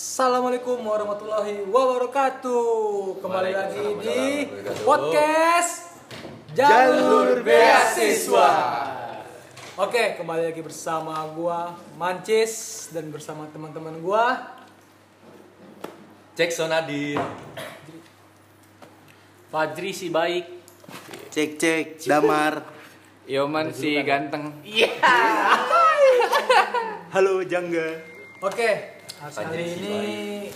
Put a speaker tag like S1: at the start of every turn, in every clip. S1: Assalamualaikum warahmatullahi wabarakatuh. Kembali lagi di
S2: Waalaikumsalam warahmatullahi wabarakatuh.
S1: podcast Jalur Beasiswa. Oke, kembali lagi bersama gua Mancis dan bersama teman-teman gua.
S2: Cek Sonadi.
S3: Fadri si baik,
S4: cek cek damar
S3: Yoman si ganteng.
S1: Iya.
S4: halo jangga
S1: Oke, kali
S2: Fajri
S1: ini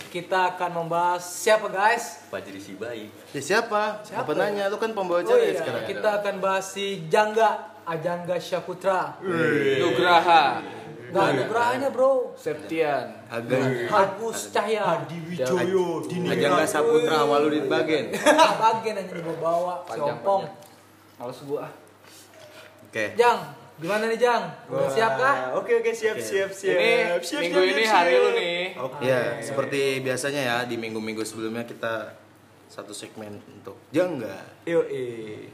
S1: kita akan membahas siapa guys?
S2: Fajri si baik.
S4: ya, siapa siapa nanya lu kan
S1: Oh
S4: pembawa acara ya
S1: iya,
S4: sekarang
S1: kita akan bahas si Jangga Ajangga Syaputra.
S3: Nugraha,
S1: Gak ada berahnya bro.
S3: Septian,
S4: agak
S1: Agus Cahya.
S4: Wijoyo
S1: ya.
S4: Ajangga Saputra Waludin Bagen
S1: Bagian hanya dibawa, sompong.
S3: males gua.
S4: oke
S1: Jang, gimana nih Jang? Udah siap kah?
S5: Oke oke siap siap siap.
S3: Ini
S5: siap,
S3: minggu
S5: siap,
S3: ini
S5: siap,
S3: hari lu
S5: siap.
S3: nih.
S4: ya seperti biasanya ya di minggu minggu sebelumnya kita satu segmen untuk jangga
S5: Yo eh.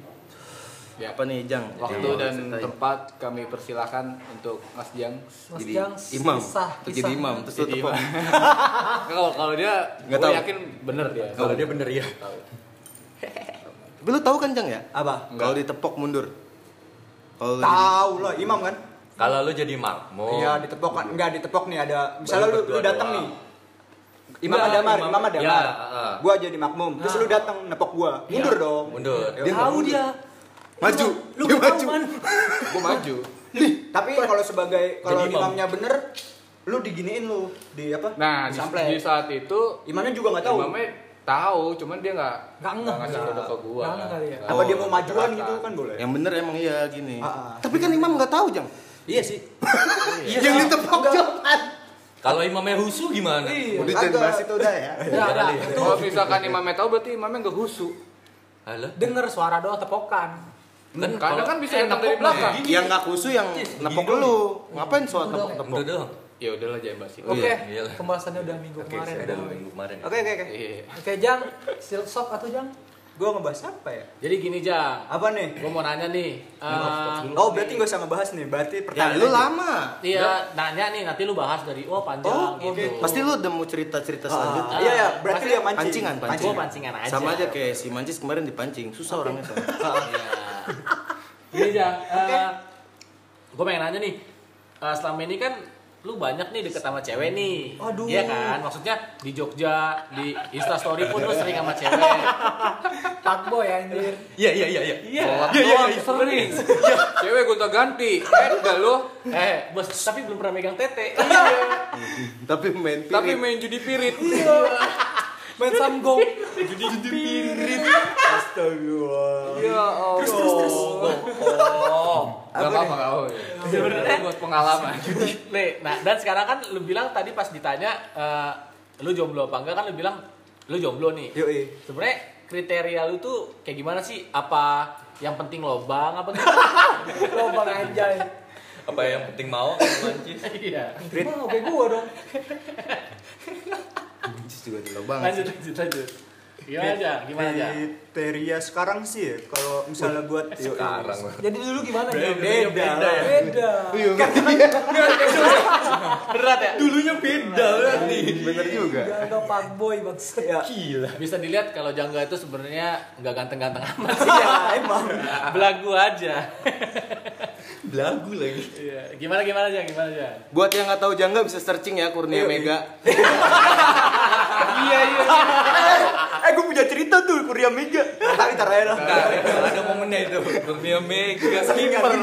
S3: Ya.
S4: apa nih jang
S3: Waktu
S4: Jang,
S3: dan
S4: ceritain.
S3: tempat kami persilakan untuk Mas Jang.
S1: Mas
S4: jadi
S1: Jang,
S4: imam
S1: kisah,
S4: Untuk jadi
S1: kisah.
S4: imam terus lu
S3: Jadi
S4: tepung
S3: Kalau kalau dia,
S4: Nggak
S3: gua
S4: tahu.
S3: yakin bener dia.
S2: Kalau dia bener ya.
S4: tapi lu tahu kan jang ya
S5: Apa?
S4: kalau ditepok mundur kalau lu jadi-
S5: Tahu lah imam kan?
S2: Kalau lu jadi makmum.
S5: Iya ditepok kan? Enggak ditepok nih ada misalnya lu,
S2: berdua
S5: lu datang
S2: doang.
S5: nih. Imam
S2: Enggak,
S5: ada mar,
S2: imam-
S5: imam ada
S2: Ya,
S5: mar.
S2: heeh.
S5: Gua jadi makmum. Terus lu datang nepok gua. Mundur dong. gitu.
S2: Mundur.
S5: Yo,
S1: Dia tahu
S5: mundur.
S1: dia.
S4: Maju.
S1: Lu
S4: Dia
S1: gak tahu
S4: maju.
S1: kan?
S3: Gua maju.
S5: Tapi kalau sebagai kalau
S2: Jadi imam.
S5: imamnya bener lu diginiin lu di apa?
S3: Nah di,
S5: Disamplek.
S3: di saat itu
S5: Imamnya juga nggak tahu.
S3: Imamnya tahu, cuman dia nggak
S1: Nggak ngeh.
S3: ngasih kode ke gua.
S1: Nggak ngeh kali ya.
S5: Apa dia mau
S3: Oh,
S5: majuan
S3: nggak
S5: gitu
S3: tahu.
S5: kan boleh.
S4: yang bener emang iya gini
S5: Ah, ah.
S4: tapi kan imam nggak tahu jang
S5: Iya sih.
S4: yang ditepok jang
S2: Kalau imamnya husu gimana?
S1: Iya.
S4: Udah jangan
S5: Agak.
S4: bahas itu udah ya.
S1: Ya, ya, itu
S3: Kalau misalkan imamnya tahu berarti imamnya nggak husu.
S2: Halo.
S1: denger suara doang tepokan.
S3: Kan, kadang kan bisa
S2: enak
S3: datang dari belakang.
S4: Yang nggak kusu yang
S2: Gini
S4: nepok
S2: dong.
S4: lu. Ngapain soal
S1: Udah.
S4: nepok nepok?
S2: Mundur dong.
S3: Ya udahlah jangan bahas itu.
S2: Oh,
S1: Oke,
S2: iya, iyalah.
S1: pembahasannya udah minggu
S2: Oke,
S1: kemarin.
S2: saya udah minggu kemarin. ya.
S5: Oke oke oke.
S3: Iya.
S1: Oke, Jang, silk sok atau Jang?
S5: Gua ngebahas apa ya?
S3: Jadi gini Jang,
S5: Apa nih?
S3: Gue mau nanya nih. eh,
S5: Oh berarti gak usah ngebahas nih, berarti
S4: Ya
S5: pertanyaan
S4: lu
S5: aja.
S4: lama.
S3: Iya, nanya nih nanti lu bahas dari oh panjang
S5: Oh,
S3: gitu.
S5: oke.
S4: Pasti lu udah mau cerita-cerita
S5: Ah,
S4: selanjutnya.
S5: Iya ya, berarti
S3: Pasti
S5: dia mancing.
S4: Pancingan,
S3: Gua
S4: pancingan.
S3: pancingan aja.
S4: Sama aja kayak si Mancis kemarin dipancing. Susah orangnya soalnya.
S3: Iya. Gini Jang, eh, gue pengen nanya nih. eh, selama ini kan lu banyak nih deket sama cewek nih.
S1: Aduh.
S3: Iya kan? Maksudnya di Jogja, di Insta Story pun lu sering sama cewek.
S1: Takboy anjir.
S2: Iya, iya, iya, iya.
S3: Iya.
S2: Iya, iya, iya.
S3: sering. Cewek gonta ganti. Eh, udah lu. Eh, bos, tapi belum pernah megang tete. Iya.
S4: Tapi main
S3: tapi
S4: piring.
S3: main judi pirit. Iya.
S1: Main samgong.
S3: Ya Allah. Terus terus terus. Gak apa-apa gak apa-apa.
S2: Iya,
S3: Sebenarnya buat pengalaman. Nih, nah dan sekarang kan lu bilang tadi pas ditanya eh, lu jomblo apa enggak kan lu bilang lu jomblo nih.
S5: Yuk, iya.
S3: Sebenarnya kriteria lu tuh kayak gimana sih? Apa yang penting lobang apa gitu?
S1: Lo bang anjay.
S2: Apa yang penting mau kalau mancis?
S3: Iya.
S1: Gua ngobe gua dong.
S4: Mancis juga di lubang.
S3: Lanjut lanjut lanjut.
S5: Iya,
S3: Gimana aja? Gimana aja?
S5: Kriteria sekarang sih, ya, kalau misalnya buat yuk,
S2: Sekarang.
S1: Jadi dulu gimana? Jang?
S5: Beda, beda ya.
S1: Beda.
S4: Iya,
S3: Berat ya?
S2: Dulunya beda berarti.
S4: Bener juga.
S1: Jangga Pakboy bangsa.
S3: Iya.
S5: Ya,
S3: Bisa dilihat kalau Jangga itu sebenarnya nggak ganteng-ganteng amat.
S5: iya emang.
S3: Belagu aja.
S2: Lagu lagi.
S3: Iya. Gimana gimana aja? Gimana aja?
S4: Buat yang nggak tahu Jangga bisa searching ya Kurnia
S5: Iya,
S4: Mega.
S3: Iya iya.
S5: Eh gue punya cerita tuh Kurnia Mega. Tapi ntar aja lah.
S2: Nah, ada momennya itu. Kurnia Mega.
S3: kiper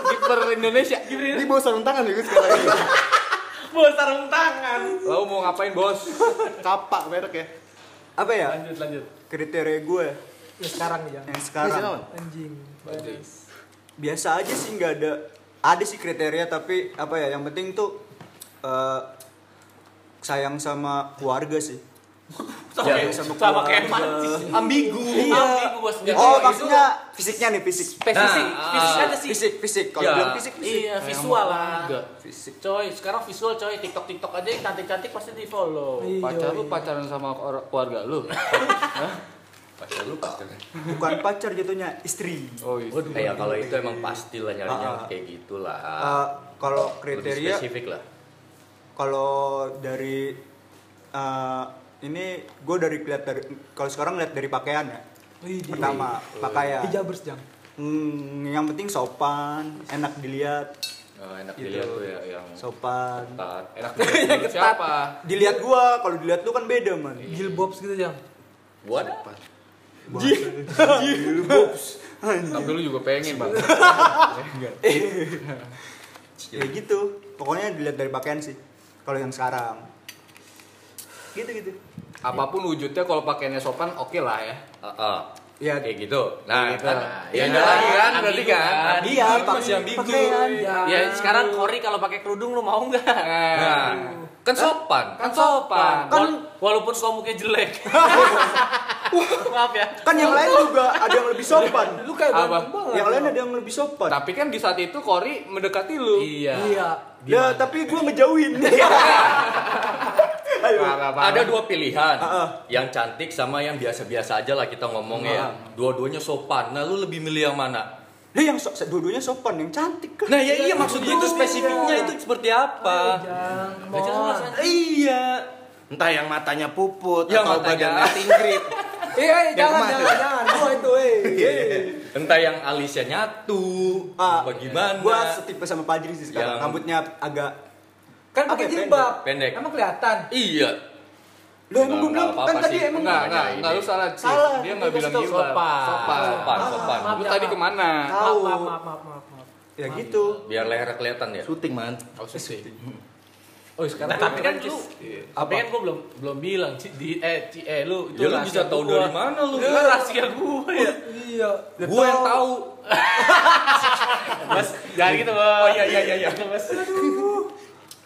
S3: kiper Indonesia
S4: Ini bawa sarung tangan ya gue sekarang.
S3: bawa sarung tangan lo mau ngapain bos
S2: Iya.
S4: Kapak merek ya.
S5: Apa ya?
S3: lanjut lanjut
S5: Kriteria gue
S1: Ya sekarang nih Jang.
S5: yang
S4: Ini
S5: sekarang
S4: silakan.
S1: Anjing.
S5: biasa aja sih nggak ada ada sih kriteria tapi apa ya yang penting tuh eh, sayang sama keluarga sih
S3: sama
S2: Nah,
S5: Jangan sama
S3: sama
S5: keluarga.
S3: kayak mancis
S2: Ambigu.
S3: Ambigu, bos.
S5: oh
S3: Itu-
S5: maksudnya fisiknya nih fisik
S3: spesifik
S2: Nah,
S3: fisik
S2: ah.
S3: aja sih
S5: fisik fisik kalau
S2: Ya.
S5: bilang fisik fisik
S3: iya visual lah
S5: fisik
S3: coy sekarang visual coy tiktok tiktok aja yang cantik cantik pasti di follow
S1: Iya,
S3: pacar lu
S1: iya.
S3: pacaran sama or- keluarga lu
S2: Pacar lu pacar.
S5: bukan pacar jatuhnya istri
S3: oh iya
S2: Waduh, kayak kalau itu emang pasti lah nyarinya
S5: Ah, ah.
S2: kayak gitulah.
S5: Eh, kalau
S2: Lebih
S5: kriteria
S2: spesifik lah.
S5: kalau dari eh, ini gue dari lihat dari kalau sekarang lihat dari pakaian ya.
S1: Wih, di-
S2: Iya.
S5: Pertama
S3: Iya.
S1: di
S5: pakaian.
S1: Jabers jang.
S5: Hmm, yang penting sopan, enak dilihat,
S2: Oh, enak
S5: Gitu.
S2: dilihat tuh ya yang
S5: sopan.
S2: ketat. Enak
S3: Iya,
S2: dilihat tuh siapa?
S5: Dilihat gua, kalau dilihat lu kan beda man.
S2: Iya.
S1: Gilbobs gitu jang.
S2: Buat. Iya. Tapi lu juga pengen, Bang.
S5: Ya gitu. Pokoknya dilihat dari pakaian sih. Kalau yang sekarang. Gitu, Gitu-gitu.
S3: Apapun wujudnya kalau pakaiannya sopan oke lah ya.
S2: Heeh. Ah,
S5: Ya,
S2: Kayak gitu. Nah,
S3: Kayak gitu.
S2: kan.
S3: Ya,
S2: Ya ada lagi kan
S3: ambigu
S2: berarti kan.
S3: kan.
S2: Ambigu,
S1: Iya,
S2: itu
S1: pak-
S2: masih ambigu.
S1: pakaian, Jang.
S3: Ya sekarang Kori kalau pakai kerudung lu mau nggak?
S2: Nah, kan sopan.
S3: Kan sopan.
S5: Kan-
S3: Wal- walaupun komuknya jelek. Maaf ya.
S5: kan yang lain juga ada yang lebih sopan.
S1: Lu kayak
S3: Apa?
S1: bandung banget.
S5: yang lain
S1: Jang.
S5: ada yang lebih sopan.
S3: Tapi kan di saat itu Kori mendekati lu.
S2: Iya.
S1: Iya.
S5: Ya, tapi gua ngejauhin. Ayo.
S2: Ada dua pilihan,
S5: Heeh.
S2: yang cantik sama yang biasa-biasa aja lah kita ngomong ya. Dua-duanya sopan. Nah, lu lebih milih yang mana?
S5: Dia yang so, dua-duanya sopan, yang cantik kan.
S2: Nah, ya iya maksudnya itu spesifiknya itu seperti apa?
S1: Jang,
S3: Gak jelas
S1: mohon.
S3: alasannya.
S2: Iya.
S4: Entah yang matanya puput
S5: Iya,
S2: Yang
S4: atau
S2: matanya-
S4: badannya tingkrit.
S1: Iya, iya, jangan,
S4: kemana?
S1: jangan, jangan. Gua itu, eh.
S3: Iya,
S2: Entah yang alisnya nyatu,
S5: Ah,
S2: bagaimana?
S5: Gua setipe sama Padri sih sekarang.
S2: Yang-
S5: Rambutnya agak
S1: Kan
S5: Apa
S1: pakai
S5: ya,
S1: jilbab.
S2: pendek?
S1: Emang kelihatan.
S2: Iya.
S5: Lu
S2: Nggak,
S5: emang gua bilang
S2: nggak
S5: kan
S2: apa-apa
S5: tadi
S2: sih.
S5: emang
S3: Enggak,
S2: Nggak,
S3: enggak, enggak lu salah sih.
S1: Salah.
S3: Dia enggak
S1: Dia
S3: bilang
S1: kasih tau
S3: jilbab. Ah, sopan.
S2: Sopan, sopan, sopan.
S1: Maaf,
S3: Lu
S1: ya,
S3: tadi
S1: maaf.
S3: kemana?
S1: Maaf,
S5: Tahu.
S1: maaf, maaf, maaf, maaf, maaf.
S5: Ya gitu.
S2: Biar leher kelihatan ya.
S4: Syuting man.
S3: Oh, sih. Oh, sekarang
S2: Tapi
S3: tapi
S2: kan
S3: kan lu
S2: lu-
S3: tapi kan gua belum belum bilang Ci, di eh Ci, eh lu itu
S2: Ya lu
S3: rahasia
S2: bisa tahu
S3: gua.
S2: dari mana lu?
S3: Itu kan rahasia gua ya.
S1: Iya.
S2: Gue yang tahu.
S3: Mas, jangan gitu, Bos.
S2: Oh, iya, iya, iya, iya.
S3: Mas.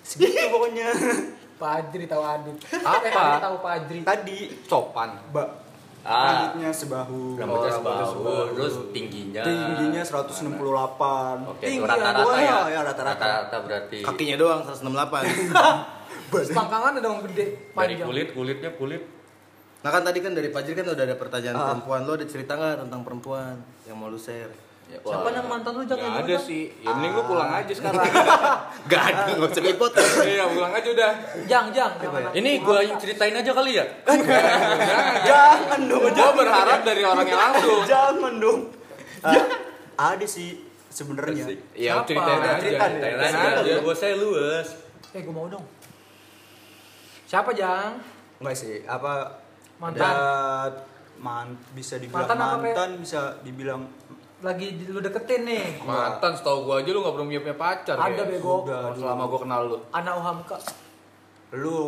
S5: Segitu pokoknya.
S1: Pak Adri tahu Adit.
S2: Apa?
S1: Eh, Adit tahu Pak Adri.
S5: Tadi
S2: Sopan.
S5: Mbak
S2: Ah.
S5: rambutnya sebahu.
S2: Rambutnya
S5: Oh,
S2: sebahu, terus tingginya.
S5: Tingginya 168.
S2: Oke, itu
S1: Tinggi,
S2: rata-rata
S5: gua
S2: ya.
S5: ya, rata-rata.
S2: Rata-rata berarti.
S4: Kakinya doang 168.
S1: Selangkangan ada yang gede,
S2: Dari
S1: panjang.
S2: kulit, kulitnya kulit.
S4: Nah kan tadi kan dari Fajri kan udah ada pertanyaan
S5: Ah.
S4: perempuan. Lo ada cerita nggak tentang perempuan yang mau lu share?
S2: Ya,
S1: Siapa
S2: wah.
S1: nama mantan lu
S3: Gak
S1: jangan
S3: ada sih. Ya mending lu pulang aja sekarang.
S4: Gak ada, nggak usah ikut.
S3: Iya, pulang aja udah.
S1: Jang, jang.
S3: ya.
S1: jangan.
S2: Ini gue yang ceritain aja kali ya.
S5: Jangan dong,
S3: Gua berharap dari orangnya langsung.
S5: Jangan dong. Eh, ada sih sebenarnya.
S2: Ya
S1: Apa?
S2: ceritain
S1: Udah
S2: aja,
S5: cerita deh.
S2: ceritain
S5: Cerita
S2: aja.
S5: deh.
S2: Gue saya luwes.
S1: Eh, gua mau dong. Siapa, Jang?
S5: Enggak sih, apa
S1: Mantan.
S5: ada man, bisa dibilang
S1: Mantan
S5: mantan,
S1: apa, Pe?
S5: bisa dibilang
S1: Lagi di- lu deketin nih.
S3: Mantan setahu gua aja lu gak belum punya punya pacar.
S1: Ada,
S3: Kayak.
S1: Bego.
S3: Oh,
S5: Udah,
S3: Selama gua kenal lu.
S1: Anak Uhamka.
S5: lu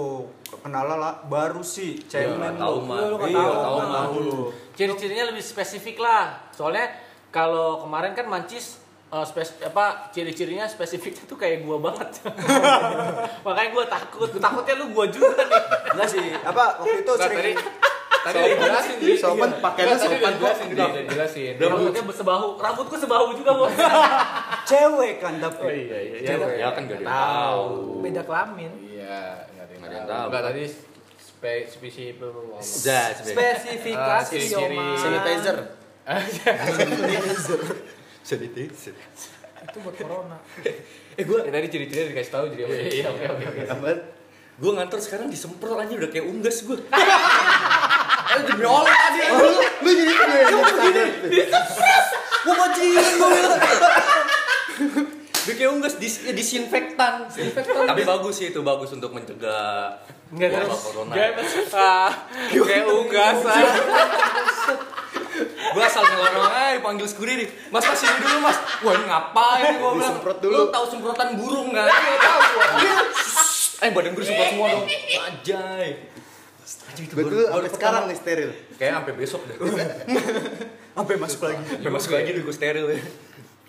S5: kenal lah baru sih
S2: nggak
S5: cemen
S2: tahu,
S5: lu.
S2: mah.
S1: Iya, lu nggak
S5: Iya,
S1: tahu,
S5: nggak
S1: Mak.
S5: tahu lu.
S3: Ciri-cirinya lebih spesifik lah. Soalnya kalau kemarin kan mancis eh, spes- apa ciri-cirinya spesifiknya tuh kayak gua banget. Makanya gua takut. Takutnya lu gua juga nih.
S5: Enggak sih, apa waktu itu
S3: Nah,
S5: sering
S3: tadi tadi udah jelasin di
S4: Sopan pakainya
S3: tadi
S4: sopan
S3: udah
S4: kok.
S3: jelasin, Di, udah jelasin.
S4: Rambut.
S3: Rambutnya sebahu, rambutku sebahu juga, Bos.
S5: cewek kan tapi
S2: Oh,
S3: iya iya.
S1: Cewek.
S2: Ya kan gak ada yang tahu.
S1: Beda kelamin.
S3: Iya,
S2: Nggak
S3: nggak ada
S2: ada
S3: yang
S2: yang
S3: tahu.
S2: tahu.
S3: Enggak tadi spe spesifik
S2: Ya, sebenarnya.
S3: Ah,
S1: Spesifikasi,
S4: Iya.
S3: ciri-ciri.
S1: Yoman.
S4: Sanitizer.
S2: Sanitizer.
S1: Itu buat corona.
S2: Eh gue
S3: Ya, tadi ciri-cirinya dikasih tahu jadi apa? Iya, oke oke oke.
S2: Apaan? Gue ngantor sekarang disemprot aja udah kayak unggas gue. Eh demi Allah tadi.
S4: Lu jadi
S2: Gue mancing gue Udah kayak unggas dis ya, disinfektan. Tapi bagus sih itu bagus untuk mencegah
S3: Enggak
S2: wabah
S3: terus.
S2: corona.
S3: Dia ah, kayak unggasan.
S2: Gue asal ngelorong aja panggil security deh. Mas mas sini dulu mas. Wah ini ngapain gue bilang.
S4: Disemprot dulu.
S2: Lu tahu semprotan burung nggak? Iya tahu. Eh badan gue disemprot semua dong. Ajay. Anjing, itu baru- baru
S4: Betul, sampai
S2: pertama.
S4: sekarang nih steril.
S2: Kayaknya sampai besok deh.
S5: sampai masuk lagi.
S2: Sampai masuk lagi deh gue steril ya.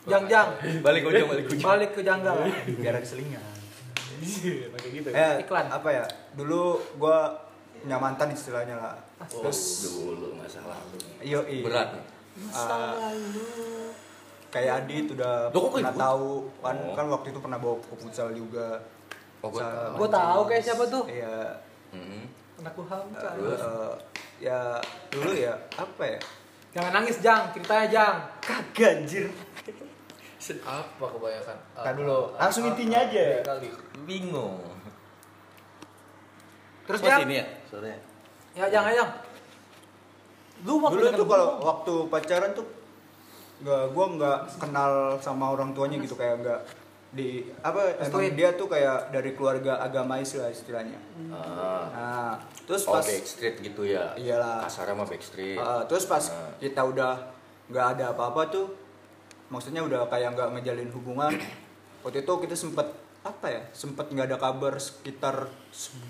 S1: Jang, jang.
S2: Balik ujung, balik ujung.
S1: Balik ke janggal.
S5: Biar ada selingan.
S3: Pakai gitu.
S5: Eh,
S1: Iklan.
S5: apa ya? Dulu gua punya mantan istilahnya lah.
S4: Oh,
S2: Terus dulu masalah lu.
S5: Yo,
S2: Berat.
S5: Ah, kayak Adit udah
S2: Loh, kok
S5: pernah
S2: ikut?
S5: tahu kan
S2: Oh.
S5: kan waktu itu pernah bawa ke futsal juga.
S2: Oh, gua
S5: Futsal
S1: Gua tahu kayak siapa tuh.
S5: Iya.
S2: Hmm.
S1: Anak Uhamka.
S2: Terus?
S5: eh, ya dulu ya apa ya?
S1: Jangan nangis, Jang. Ceritanya, Jang.
S5: Kagak anjir.
S3: Apa kebanyakan?
S5: ya. Ntar dulu, langsung intinya aja.
S3: Kali.
S2: Bingung.
S1: Terus
S4: Mas
S1: Jang?
S4: ini ya suaranya.
S1: Ya Jang, ya Jang. Lu waktu
S5: dulu
S1: dengan
S5: tuh
S1: gua-
S5: kalau waktu pacaran tuh nggak gue nggak kenal sama orang tuanya gitu kayak nggak di apa emang
S1: Restuin.
S5: dia tuh kayak dari keluarga agamais lah istilahnya
S2: Ah.
S5: nah terus
S2: Oh
S5: pas Iya.
S2: backstreet gitu ya?
S5: Iyalah.
S2: Kasar sama backstreet.
S5: Uh, terus pas
S2: Ah.
S5: kita udah nggak ada apa-apa tuh maksudnya udah kayak nggak ngejalin hubungan waktu itu kita sempet apa ya sempet nggak ada kabar sekitar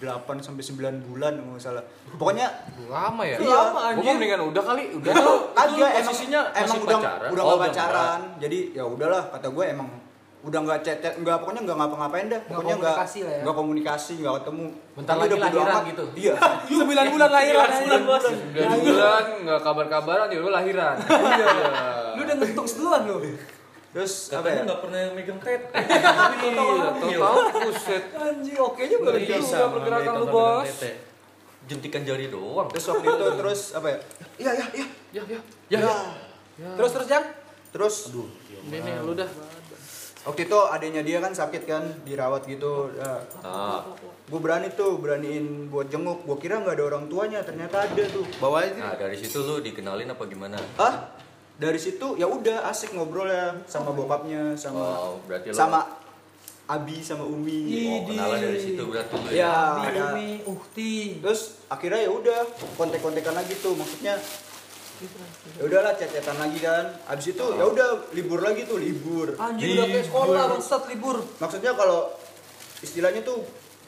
S5: 8 sampai 9 bulan kalau nggak salah pokoknya
S3: Lama ya?
S5: Iya,
S3: Gue
S1: anjing.
S3: mendingan udah kali, udah.
S5: kagak emang
S2: posisinya
S5: emang
S2: masih
S5: udah
S2: pacaran?
S5: udah
S2: Oh,
S5: nggak
S2: udah
S5: pacaran jadi ya udahlah kata gue emang udah nggak chat chat- nggak pokoknya nggak ngapa-ngapain dah pokoknya nggak
S1: komunikasi lah ya.
S5: nggak komunikasi nggak ketemu
S3: Bentar
S5: Tapi
S3: lagi
S5: udah bodo
S3: lahiran
S5: amat.
S3: gitu.
S5: iya
S1: 9 bulan lahiran
S3: bulan,
S1: anjing.
S3: Bos. Udah bulan nggak kabar-kabaran ya lu lahiran. Iya.
S1: Lu udah ngetung duluan lu.
S5: terus apa ya
S2: Katanya nggak pernah megang tete.
S3: Iya, Tahu-tahu buset.
S1: Anjing, oke juga
S4: Nggak
S1: lu.
S2: Iya,
S4: bisa
S3: juga pergerakan
S4: ngambil
S3: lu,
S4: tontonan
S3: Bos.
S4: tete.
S2: Jentikan jari doang.
S5: terus waktu itu terus apa ya iya iya iya
S3: Ya, ya.
S5: Ya.
S1: Terus terus Jang.
S5: Terus
S3: Ini nih lu dah.
S5: waktu itu adanya dia kan sakit kan dirawat gitu.
S2: Ah.
S5: gue berani tuh beraniin buat jenguk. Gue kira nggak ada orang tuanya, ternyata ada tuh.
S4: Bawa aja.
S2: Nah dari situ lu dikenalin apa gimana?
S5: Ah, dari situ ya udah asik ngobrol ya sama bokapnya, sama
S2: Oh, berarti lu-
S5: sama Abi sama Umi.
S2: Oh kenalan dari situ berarti lu
S5: Ya,
S1: Abi,
S5: ada.
S1: Umi, Uhti.
S5: Terus akhirnya ya udah kontek-kontekan lagi tuh, maksudnya ya udahlah cetetan lagi kan. Abis itu ya udah libur lagi tuh libur.
S1: Anjing udah kayak sekolah, bangsat libur.
S5: maksudnya kalau istilahnya tuh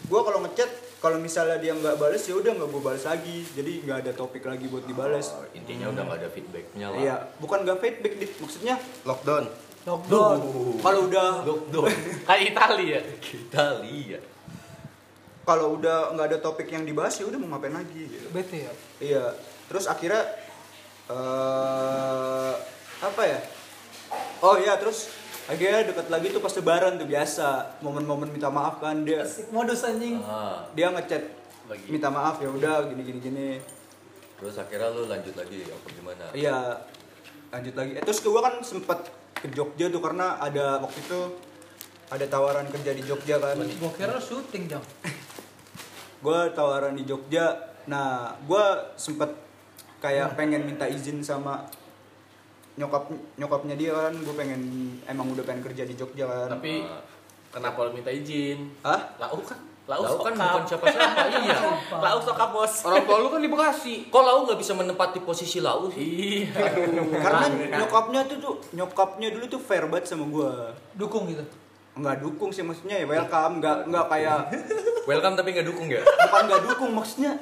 S5: gua kalau ngechat kalau misalnya dia nggak bales ya udah nggak gue balas lagi jadi nggak ada topik lagi buat dibales
S2: Oh, intinya udah nggak ada feedbacknya lah.
S5: iya bukan nggak feedback dit maksudnya
S4: Lockdown.
S1: Lockdown.
S5: kalau udah
S2: Lockdown.
S3: Kayak Itali ya.
S2: Kita lihat.
S5: kalau udah nggak ada topik yang dibahas ya udah mau ngapain lagi gitu.
S1: Bete ya.
S5: iya terus akhirnya eh apa ya oh iya terus akhirnya deket lagi tuh pas lebaran tuh biasa momen-momen minta maaf kan dia
S1: Asik modus anjing.
S2: Ah,
S5: dia ngechat
S3: Lagi.
S5: minta maaf ya udah gini gini gini
S2: terus akhirnya lu lanjut lagi apa gimana?
S5: Iya. Lanjut lagi. Eh, terus gue kan sempet ke Jogja tuh karena ada waktu itu ada tawaran kerja di Jogja kan.
S1: Gua kira lu syuting, Jang.
S5: Gue tawaran di Jogja. Nah, gue sempet kayak pengen minta izin sama nyokap nyokapnya dia kan. Gue pengen emang udah pengen kerja di Jogja kan.
S3: Tapi
S2: Ah.
S3: kenapa lu minta izin?
S5: Hah?
S3: Lau kan. Lau,
S2: Lau kan
S3: sokap.
S2: bukan siapa-siapa, iya.
S3: Lau sokap bos.
S2: Orang tua lu kan di Bekasi. Kok lau nggak bisa menempati posisi lau sih?
S3: Iya.
S5: karena
S2: kan?
S5: nyokapnya tuh tuh nyokapnya dulu tuh fair banget sama gue.
S1: Dukung gitu.
S5: Nggak dukung sih maksudnya ya welcome, nggak nggak kayak
S2: Welcome tapi nggak dukung ya?
S5: bukan nggak dukung maksudnya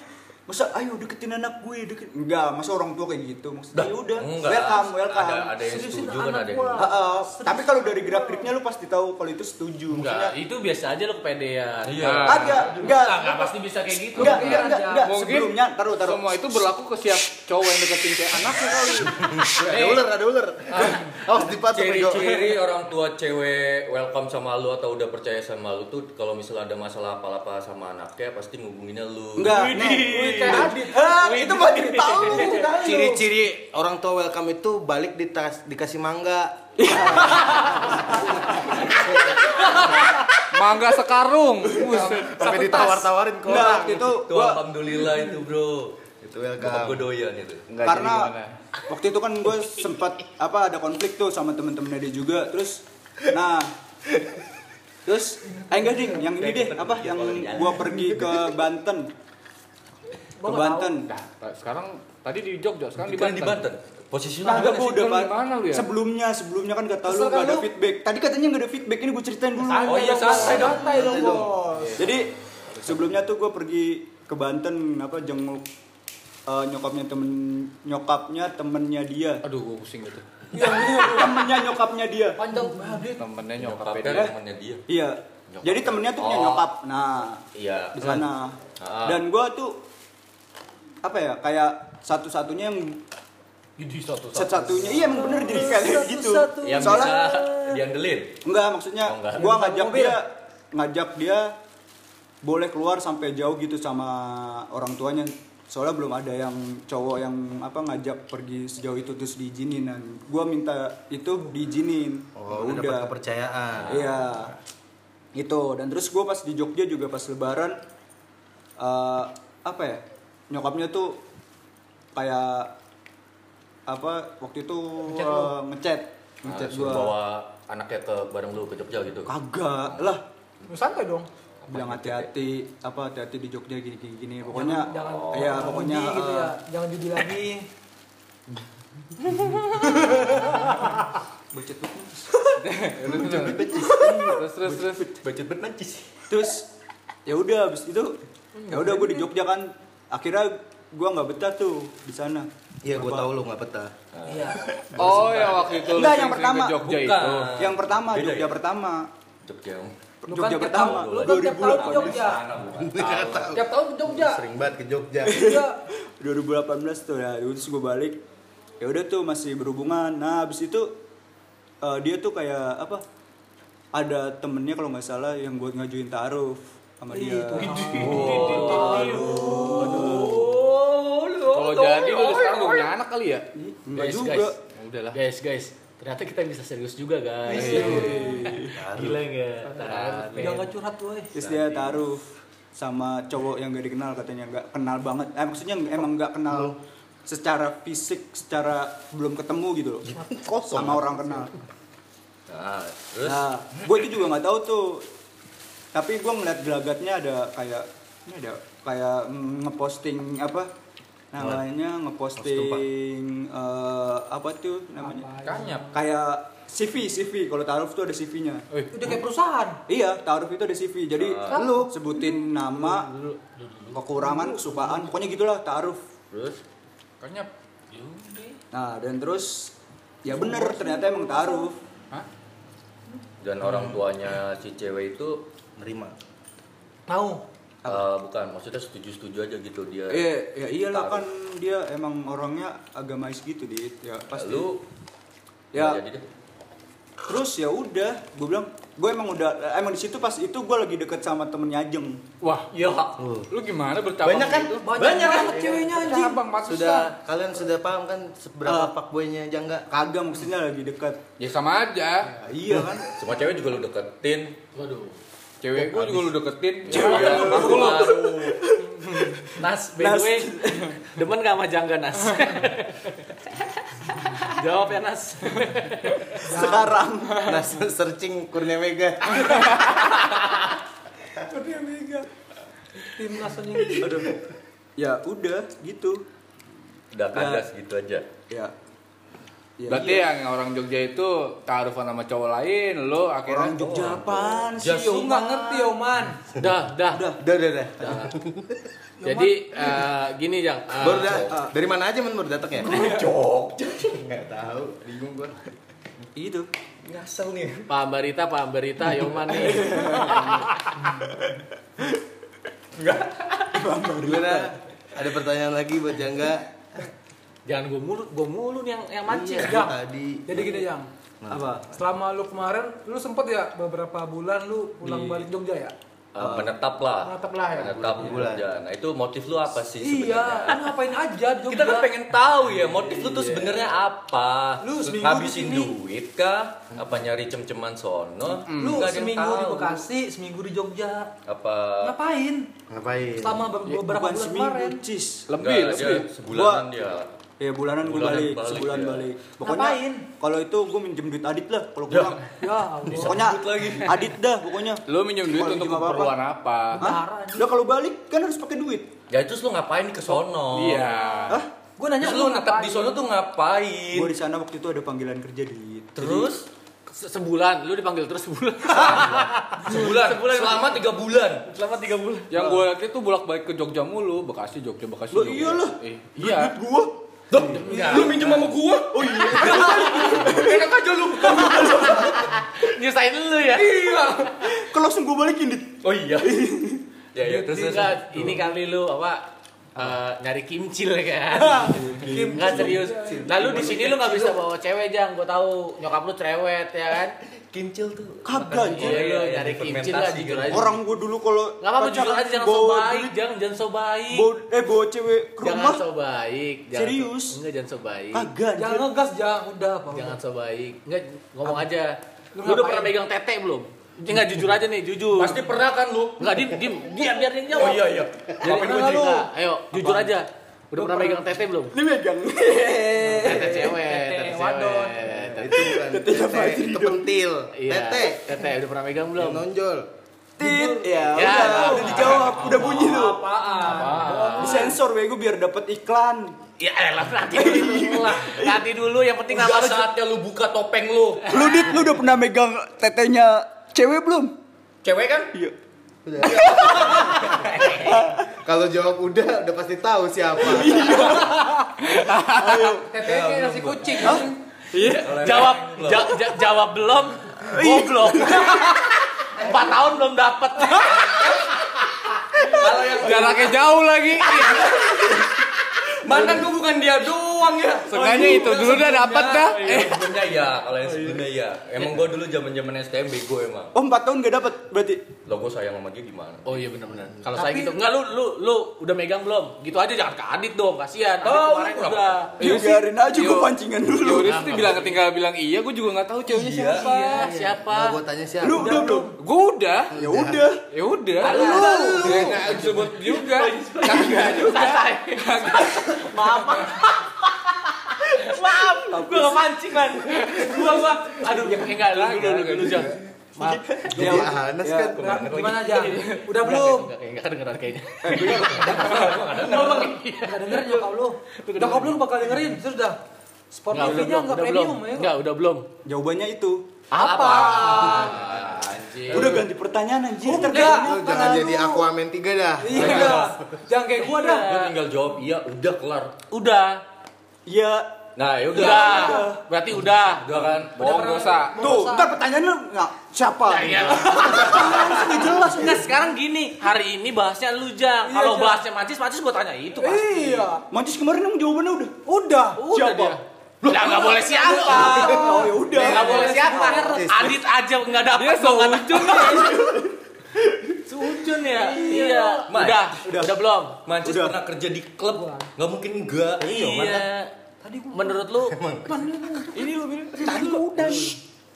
S5: masa ayo deketin anak gue deket enggak masa orang tua kayak gitu maksudnya ya udah
S2: Enggak.
S5: welcome welcome
S2: Ada, ada yang
S1: Seriusin
S2: setuju kan
S1: anak
S2: ada yang
S1: gua.
S5: Ah, ah. tapi kalau dari gerak geriknya lu pasti tahu kalau itu setuju
S3: Enggak, itu biasa aja lo kepedean.
S2: Iya.
S3: Nah,
S5: Agak, Ah, enggak.
S3: Enggak, enggak pasti bisa kayak gitu.
S5: enggak enggak enggak,
S1: aja.
S5: enggak.
S3: Mungkin
S5: sebelumnya taruh taruh
S3: Semua itu berlaku ke siap cowok yang deketin kayak anaknya kali.
S4: Iya, Ada ular, ada ular. Awas dipatu bego.
S2: Ciri-ciri orang tua cewek welcome sama lu atau udah percaya sama lu tuh kalau misalnya ada masalah apa-apa sama anaknya pasti ngubunginnya lu.
S5: enggak
S1: Wih,
S5: enggak.
S1: kayak Adit.
S5: Ah, itu mau tahu tahu.
S4: Ciri-ciri orang tua welcome itu balik ditas- dikasih mangga.
S3: Mangga sekarung. Buset.
S4: Sampai ditawar-tawarin ke
S5: enggak gitu.
S4: orang.
S5: waktu itu
S2: Tuh
S5: gua
S2: alhamdulillah itu, Bro.
S4: Itu
S2: Bokap gue
S4: welcome.
S2: doyan itu.
S4: Enggak
S5: karena
S4: jadi gimana.
S5: waktu itu kan gue sempat apa ada konflik tuh sama temen-temennya dia juga terus nah terus eh enggak ding yang ini deh apa yang gue pergi ke Banten ke Banten
S3: Nah, sekarang tadi di Jogja, sekarang di
S2: Kan
S3: Banten.
S2: di Banten. Posisi lu
S5: Nah, enggak
S2: mana
S5: gue
S2: sih?
S5: udah
S3: Lu
S5: Ban-
S3: gimana lu ya?
S5: Sebelumnya, sebelumnya kan kata
S1: Kesel
S5: lu
S1: kan
S5: gak ada
S1: lu?
S5: feedback. Tadi katanya gak ada feedback, ini gue ceritain dulu. Oh,
S1: Santai
S2: iya,
S1: dong,
S2: santai
S1: Oh santai dong, santai dong, bos.
S5: Jadi sebelumnya tuh gue pergi ke Banten apa jenguk eh, nyokapnya temen nyokapnya temennya dia
S3: Aduh, gua pusing gitu.
S5: temennya nyokapnya dia
S1: Panjang banget.
S3: Temennya nyokap
S2: Nyokapnya
S3: beda.
S2: temennya dia.
S5: Iya.
S2: Nyokap.
S5: Jadi temennya tuh punya
S2: Oh.
S5: nyokap. Nah,
S2: Iya.
S5: di sana.
S2: Ah.
S5: Dan gua tuh apa ya? Kayak satu-satunya yang
S3: Jadi satu
S5: satu-satunya iya emang bener jadi kayak gitu.
S1: Satu-satu.
S2: Yang
S5: Soalnya
S2: bisa diandelin.
S5: enggak maksudnya
S2: Oh, enggak.
S5: gua
S1: Yang
S5: ngajak
S1: mobil.
S5: dia ngajak dia boleh keluar sampai jauh gitu sama orang tuanya. Soalnya belum ada yang cowok yang apa ngajak pergi sejauh itu terus diizinin. Dan gua minta itu diizinin.
S4: Oh, udah dapat kepercayaan.
S5: Iya. Gitu. Dan terus gue pas di Jogja juga pas Lebaran eh, apa ya nyokapnya tuh kayak apa waktu itu eh, ngechat ngechat
S2: Langsung
S5: gua
S2: bawa anaknya ke bareng lu ke Jogja gitu.
S5: kagak lah
S1: Lu santai dong.
S5: bilang hati-hati apa hati-hati di Jogja gini gini, gini. pokoknya
S1: jangan
S3: Oh.
S5: ya
S1: jangan
S5: pokoknya
S1: judi gitu ya.
S5: eh,
S1: Jangan judi lagi.
S5: budget banget.
S3: Iya, terus terus terus
S2: Budget bet mancis.
S5: terus ya udah abis itu ya udah gue di Jogja kan akhirnya gue nggak betah tuh di sana
S4: Iya, gue
S5: Apa?
S4: tau lu nggak betah.
S1: Iya.
S3: oh ya waktu itu lu
S5: Enggak, yang
S3: sering-sering
S5: pertama.
S3: ke Jogja
S2: Bukan.
S3: itu
S5: yang pertama
S2: Beda
S5: Jogja
S2: ya?
S5: pertama
S2: Jogja.
S1: Lu kan
S5: Jogja
S1: tiap
S5: pertama
S1: tahun- Lu kan tiap tahun ke
S5: 2018
S1: Jogja. Tiap tahun ke Jogja.
S4: Sering banget ke Jogja.
S1: Iya.
S5: 2018 tuh ya terus gue balik ya udah tuh masih berhubungan nah abis itu eh, dia tuh kayak apa ada temennya kalau nggak salah yang buat ngajuin taruh sama dia
S1: Oh, lu.
S3: kalau jadi lu udah sekarang udah punya anak kali ya
S5: nggak
S3: Guys,
S5: juga
S3: guys. udahlah
S6: Guys, guys, ternyata kita bisa serius juga, guys. Gila enggak?
S1: Jangan curhat lu, eh.
S5: terus dia taruh sama cowok yang gak dikenal katanya nggak kenal banget eh, maksudnya emang nggak kenal secara fisik secara belum ketemu gitu loh
S4: Kosong.
S5: sama orang kenal
S2: Nah, terus
S5: nah gue itu juga nggak tahu tuh tapi gue ngeliat gelagatnya ada kayak ini ada kayak mm, ngeposting apa namanya ngeposting eh, apa tuh namanya
S2: kanyap.
S5: kayak CV CV kalau taruh tuh ada CV-nya
S1: Udah kayak perusahaan.
S5: Iya, taruh itu ada CV. Jadi
S1: Ah.
S5: lu sebutin nama, kekurangan, kesukaan, pokoknya gitulah taruh.
S2: Terus kanyap.
S5: Nah, dan terus ya bener ternyata emang taruh.
S2: Dan orang tuanya si cewek itu
S4: Nerima.
S1: Tahu.
S2: eh, bukan maksudnya setuju-setuju aja gitu dia.
S5: Iya, ya iyalah
S2: Taruh.
S5: kan dia emang orangnya agamais gitu, Dit. Ya pasti.
S2: Lu
S5: ya,
S2: nggak jadi deh.
S5: terus ya udah, gue bilang gue emang udah eh, emang di situ pas itu gue lagi deket sama temennya Ajeng.
S3: wah iya lu gimana bercabang
S4: Banyak kan?
S3: gitu?
S1: Banyak banget ceweknya anjing.
S3: bercabang Pak Susan.
S4: Sudah kalian sudah paham kan seberapa ya pak boynya Jangga?
S5: Kagak maksudnya lagi deket.
S3: ya sama aja
S5: Ya, iya kan?
S2: Semua cewek juga lu deketin.
S6: Waduh.
S3: cewek gua juga lu deketin Ya,
S2: Cewek lu.
S6: Nas, by the
S5: Nas.
S6: way, demen gak sama Jangga, Nas? Jawab ya, Nas.
S5: Sekarang
S4: Nah, searching Kurnia Mega.
S1: Timnas anjing.
S5: ya udah gitu.
S2: Udah kandas gitu aja.
S5: Ya. Ya,
S3: berarti yang orang Jogja itu taruhan sama cowok lain lu akhirnya
S5: Orang
S2: Oh.
S5: Jogja apaan sih?
S1: Si Oman ngerti Oman.
S3: dah dah
S4: Udah, udah, udah.
S3: jadi eh, gini Jang eh,
S4: Baru dat- dari mana aja men baru datang ya? Jogja. Enggak tahu, bingung gua.
S5: Itu.
S4: Ngasal nih.
S3: Pak Ambarita, Pak Ambarita, Yoman ya, nih.
S4: Gimana? Ada pertanyaan lagi buat Jangga?
S6: Jangan gue mulu, gue mulu nih yang yang mancing.
S4: Iya,
S1: Jang.
S4: tadi.
S1: Jadi gini, Jang.
S5: Apa?
S1: Nah. Selama lu kemarin, lu sempet ya beberapa bulan lu pulang balik Jogja ya?
S2: Eh, menetap lah.
S1: Menetap lah ya?
S2: Menetap di
S4: Bulan.
S2: Jogja. Nah, itu motif lu apa sih
S1: Iya,
S2: Iya, sebenarnya?
S1: lu ngapain aja di
S2: Kita
S1: Jogja?
S2: kan pengen tahu ya motif lu tuh sebenarnya apa?
S1: Lu seminggu di
S2: habisin
S1: sini.
S2: duit kah? Apa nyari cem-ceman sono?
S1: Lu
S2: Hmm, Nggak ada yang
S1: seminggu di
S2: tahu.
S1: Bekasi, seminggu di Jogja.
S2: Apa
S1: Ngapain?
S4: Ngapain?
S1: Selama ber- beberapa
S5: Iya, Bukan
S1: bulan
S5: seminggu,
S1: kemarin.
S5: cis.
S3: Lebih,
S2: Nggak, dia
S3: lebih.
S2: Sebulanan dia.
S5: Ya bulanan gue
S2: Bulanan
S5: balik,
S2: balik,
S3: iya.
S5: sebulan
S2: ya.
S5: balik. Pokoknya
S1: Ngapain?
S5: kalau itu gue minjem duit Adit lah kalau
S2: Ya.
S5: pulang.
S1: Ya Allah.
S5: Pokoknya Adit dah pokoknya.
S3: Lu minjem duit
S5: Kalau
S3: untuk
S5: minjem apa-apa.
S3: keperluan apa?
S5: Hah?
S1: Parah, anjing.
S5: Lah kalau balik kan harus pakai duit.
S2: Ya terus lu ngapain
S6: Oh.
S2: ke sono?
S3: Iya.
S5: Hah?
S1: Gue nanya
S2: Terus lu
S1: ngapain?
S2: netap di sono tuh ngapain?
S5: Gue di sana waktu itu ada panggilan kerja di
S2: Iya. Terus
S6: Se- Sebulan, lu dipanggil terus sebulan.
S2: sebulan, selama tiga bulan.
S6: Selama tiga bulan.
S3: Yang gue lihat itu bolak-balik ke Jogja mulu, Bekasi, Jogja, Bekasi.
S5: Lo
S3: Jogja.
S5: iyalah.
S3: Eh, iya.
S5: Gue
S2: Lu minjem sama gua? Iya. Oh iya. Enak aja lu.
S6: Nyusahin lu ya?
S2: Iya.
S5: kalau kan langsung gue balikin dit.
S2: Oh iya. Ya ya terus terus.
S6: Enggak, ini kali lu apa eh, nyari kimcil kan? Enggak serius. Lalu di sini lu nggak bisa bawa cewek jang, gua tahu nyokap lu cerewet ya kan?
S2: Kimcil tuh.
S5: Kagak
S6: Iya,
S5: anjing.
S6: lu
S2: iya,
S6: nyari
S2: iya,
S6: kimcil lah
S2: fermentasi
S6: jujur
S2: gitu.
S6: aja.
S5: Orang gue dulu kalau
S6: Enggak apa-apa jujur
S5: pacaran
S6: aja jangan so
S5: bawa
S6: baik,
S5: duit,
S6: jangan jangan so baik.
S5: bawa- eh bawa cewek ke
S6: Jangan
S5: rumah.
S6: so baik. jangan so-
S5: Serius?
S6: Enggak jangan so baik.
S5: Kagak. anjing.
S2: Oh.
S1: Jangan ngegas, Jang. Udah, Pak.
S6: Jangan so baik. Enggak ngomong aja.
S1: Lu
S6: Lu udah
S1: ngapain?
S6: pernah pegang tete belum?
S3: Ini Ya nggak jujur aja nih, jujur.
S2: Pasti pernah kan lu?
S3: Nggak, dim, dim, diam, biar dia jawab.
S2: iya iya.
S3: Jadi
S2: Apa
S3: pernah nggak lu? Ayo, jujur aja. Udah pernah megang tete belum?
S5: Ini megang.
S1: Eh.
S3: Tete cewek, tete
S6: wadon.
S3: cewek.
S4: Itu bukan tete, itu pentil.
S3: Iya,
S4: Tete.
S3: Tete, udah pernah megang belum?
S4: Nonjol.
S5: Tit. Ya,
S3: Ya,
S5: udah, udah dijawab, udah bunyi tuh.
S1: Apaan?
S5: Disensor bego biar dapat iklan.
S3: Ya
S2: eh,
S3: elah, nanti dulu lah. Nanti dulu, yang penting nama
S2: Udah
S3: lu.
S2: saatnya lu buka topeng lu.
S5: Lu dit, lu udah pernah megang tetenya cewek belum?
S2: Cewek kan?
S5: Iya.
S4: Kalau jawab udah, udah pasti tahu siapa.
S1: Tetenya kayak nasi kucing.
S3: Iya, jawab, ja- ja- jawab belum, goblok. Empat tahun belum dapet.
S2: Kalau yang
S6: Jaraknya jauh lagi.
S2: mantan gua bukan dia doang ya.
S6: Seenggaknya itu dulu udah dapat dah.
S2: Eh, sebenarnya ya, kalau yang sebenarnya ya. Emang gua dulu zaman-zaman STM bego emang.
S5: Oh, 4 tahun gak dapat berarti.
S2: Lo gua sayang sama dia gimana?
S3: Oh iya benar-benar. Kalau saya gitu, enggak lu lu lu udah megang belum? Gitu aja jangan ke Adit dong, kasihan. Adit
S2: Oh,
S3: kemarin
S2: lu kenapa?
S3: udah. Iya,
S5: Ya,
S6: Iya,
S3: Nah,
S5: Biarin aja gua
S6: Yo.
S5: pancingan dulu.
S6: Yoris tuh bilang ketinggalan bilang iya, gue juga nggak tahu ceweknya siapa.
S3: Iya, siapa?
S4: Mau gua tanya siapa?
S5: Lu udah belum?
S6: Gue udah.
S5: Ya udah.
S6: Ya udah. Lu. Nggak disebut juga. Kagak juga.
S3: Maaf. Maaf, gua kepancing kan. Gua gua aduh ya enggak lu dulu lu dulu jangan. Maaf.
S4: Jadi Anas kan.
S1: Nah, Gimana aja? Udah belum?
S3: Enggak kayaknya kedengeran kayaknya.
S1: Gak denger nyokap lu. Nyokap lu bakal dengerin, terus dah. Spotify-nya enggak
S3: belum.
S1: premium ya.
S3: Enggak, udah belum.
S5: Jawabannya itu.
S3: Apa? Ah,
S5: Udah ganti pertanyaan anjir. Ntar
S1: Enggak.
S5: ganti.
S4: Lu jangan jadi Aquaman 3 dah.
S1: Iya dah. Jangan kayak gua dah.
S2: Gua tinggal jawab iya, udah kelar.
S3: Udah.
S5: Iya.
S2: Nah, ya udah.
S3: Udah. Berarti udah. Oh,
S2: Udah kan?
S6: Bohong dosa.
S5: Tuh, ntar pertanyaan lu nggak siapa?
S3: Iya.
S5: Nggak jelas.
S3: Enggak sekarang gini, hari ini bahasnya lu Jang. Kalau bahasnya Macis, Macis gua tanya itu pasti.
S1: Iya.
S5: Mancis kemarin emang jawabannya udah.
S1: Udah.
S3: Udah dia. Ya nggak boleh siapa.
S5: Oh ya udah.
S2: Iya,
S3: Nggak boleh siapa. Adit aja nggak dapet dong kata. Seujun ya. Iya.
S2: Mai.
S3: Udah, udah belum.
S2: Mancis pernah kerja di klub. Nggak mungkin enggak.
S3: Iya. Tadi menurut lu ini lu bilang tadi udah.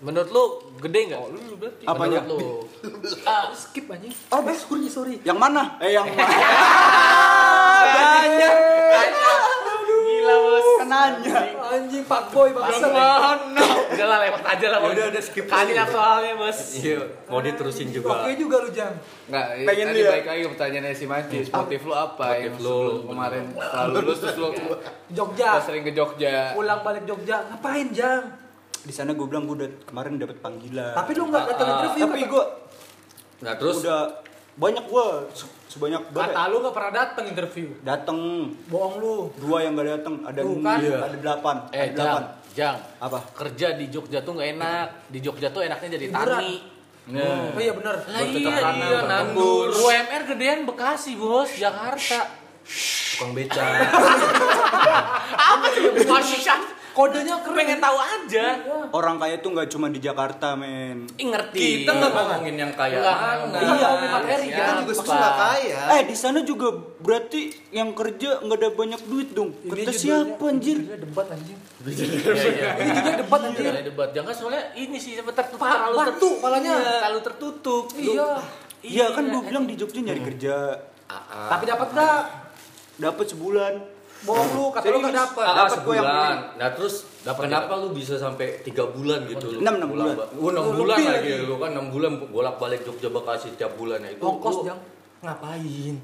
S3: Menurut lu gede nggak? Oh, lu berarti.
S5: Apanya?
S3: Menurut lu. Ah,
S1: Skip anjing.
S5: Oh, bes, sorry, sorry. Yang mana? Eh, yang mana?
S3: Banyak. Gila bos.
S5: Kenanya.
S1: Anjing pak boy bangsa.
S3: Mana? Udah lah lewat aja lah. Bos.
S2: Ya Udah, udah, skip
S3: Kali
S2: aja.
S3: lah soalnya bos.
S2: Iya, mau diterusin juga.
S1: Oke juga lu Jang.
S6: Nggak,
S3: eh,
S6: i-
S5: Pengen
S6: tadi
S5: lihat.
S6: balik lagi ke pertanyaannya si Mancis. Ah. Motif lu apa yang
S2: lu,
S6: sebelum kemarin setelah lulus terus lu
S1: Jogja.
S6: sering ke Jogja?
S1: Pulang balik Jogja, ngapain Jang?
S5: Di sana gue bilang gue udah kemarin dapat panggilan.
S1: Tapi lu enggak datang interview.
S5: tapi
S1: kata-
S5: gue
S2: Nah, terus
S5: udah banyak gue sebanyak
S1: kata
S5: banget.
S1: lu enggak pernah datang interview.
S5: Dateng
S1: Bohong lu.
S5: dua yang gak dateng ada
S1: Tuh, kan?
S5: iya, ada delapan.
S3: Eh,
S5: ada delapan.
S3: Jang, Jang.
S5: Apa?
S3: Kerja di Jogja tuh nggak enak. Di Jogja tuh enaknya jadi
S1: Hiburan.
S3: tani.
S1: Oh iya benar.
S3: Lah iya, iya, nandur. UMR gedean Bekasi, Bos, Jakarta.
S2: tukang beca.
S3: Apa sih Washington?
S1: Kodenya keren.
S3: Pengen tahu aja.
S5: Orang kaya tuh nggak cuma di Jakarta men.
S3: Ih, ngerti.
S2: Kita nggak ngomongin yang kaya
S3: Nggak,
S2: mana.
S3: nggak.
S1: Iya, ngomongin materi,
S3: Siapa?
S4: Kan juga suka kaya.
S5: Eh di sana juga berarti yang kerja nggak ada banyak duit dong. Kerja siapa
S1: ya.
S5: anjir?
S1: Ini debat anjing.
S3: Iya, iya.
S1: Ini juga debat anjing.
S3: Jangan debat. Jangan soalnya ini sih sebentar tuh
S1: Pa-
S3: terlalu
S1: batu palanya.
S3: Iya, terlalu tertutup.
S1: Iya.
S5: Iya kan gue bilang di Jogja nyari kerja
S1: Tapi dapat enggak?
S5: dapat sebulan.
S1: Bohong lu, kata lu enggak dapat.
S2: Ah,
S5: Dapat gua yang
S2: sebulan. Nah, terus kenapa lu bisa sampai 3 bulan gitu lu?
S5: Enam, enam
S2: pulang,
S5: bulan.
S2: Ba- Oh, 6
S1: Lebih
S2: bulan
S1: lagi.
S2: lagi lu kan 6 bulan bolak-balik Jogja Bekasi tiap bulan ya itu.
S1: Ongkos
S2: lu
S1: Jang.
S2: Ngapain?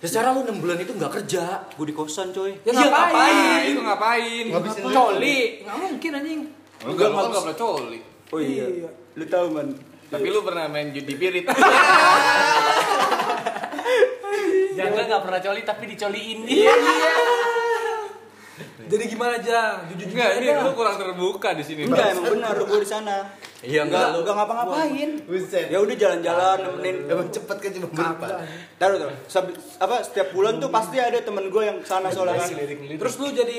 S2: Ya secara lu 6 bulan itu nggak kerja.
S5: Gue di kosan coy.
S1: Ya
S3: Iya,
S1: ngapain?
S6: Nah, itu ngapain?
S4: Ngabisin duit.
S6: Coli.
S1: Enggak mungkin anjing.
S6: Lu kan nggak pernah coli.
S5: Oh iya. Lu tahu man.
S6: Tapi lu pernah main judi pirit.
S3: Jangan nggak pernah coli tapi dicoliin. Iya.
S1: Jadi gimana Jang? Jujur
S6: Enggak, ini
S1: aja.
S6: iya. lu kurang terbuka di sini.
S5: Enggak emang benar gue di sana.
S2: Iya
S5: Enggak,
S2: enggak lu.
S5: enggak ngapa-ngapain.
S4: Buset.
S5: Ya udah jalan-jalan nemenin.
S4: Emang cepet kan cuma berapa?
S5: Taruh taruh. Sab- apa setiap bulan tuh pasti ada temen gue yang sana soalnya kan.
S1: Terus lu jadi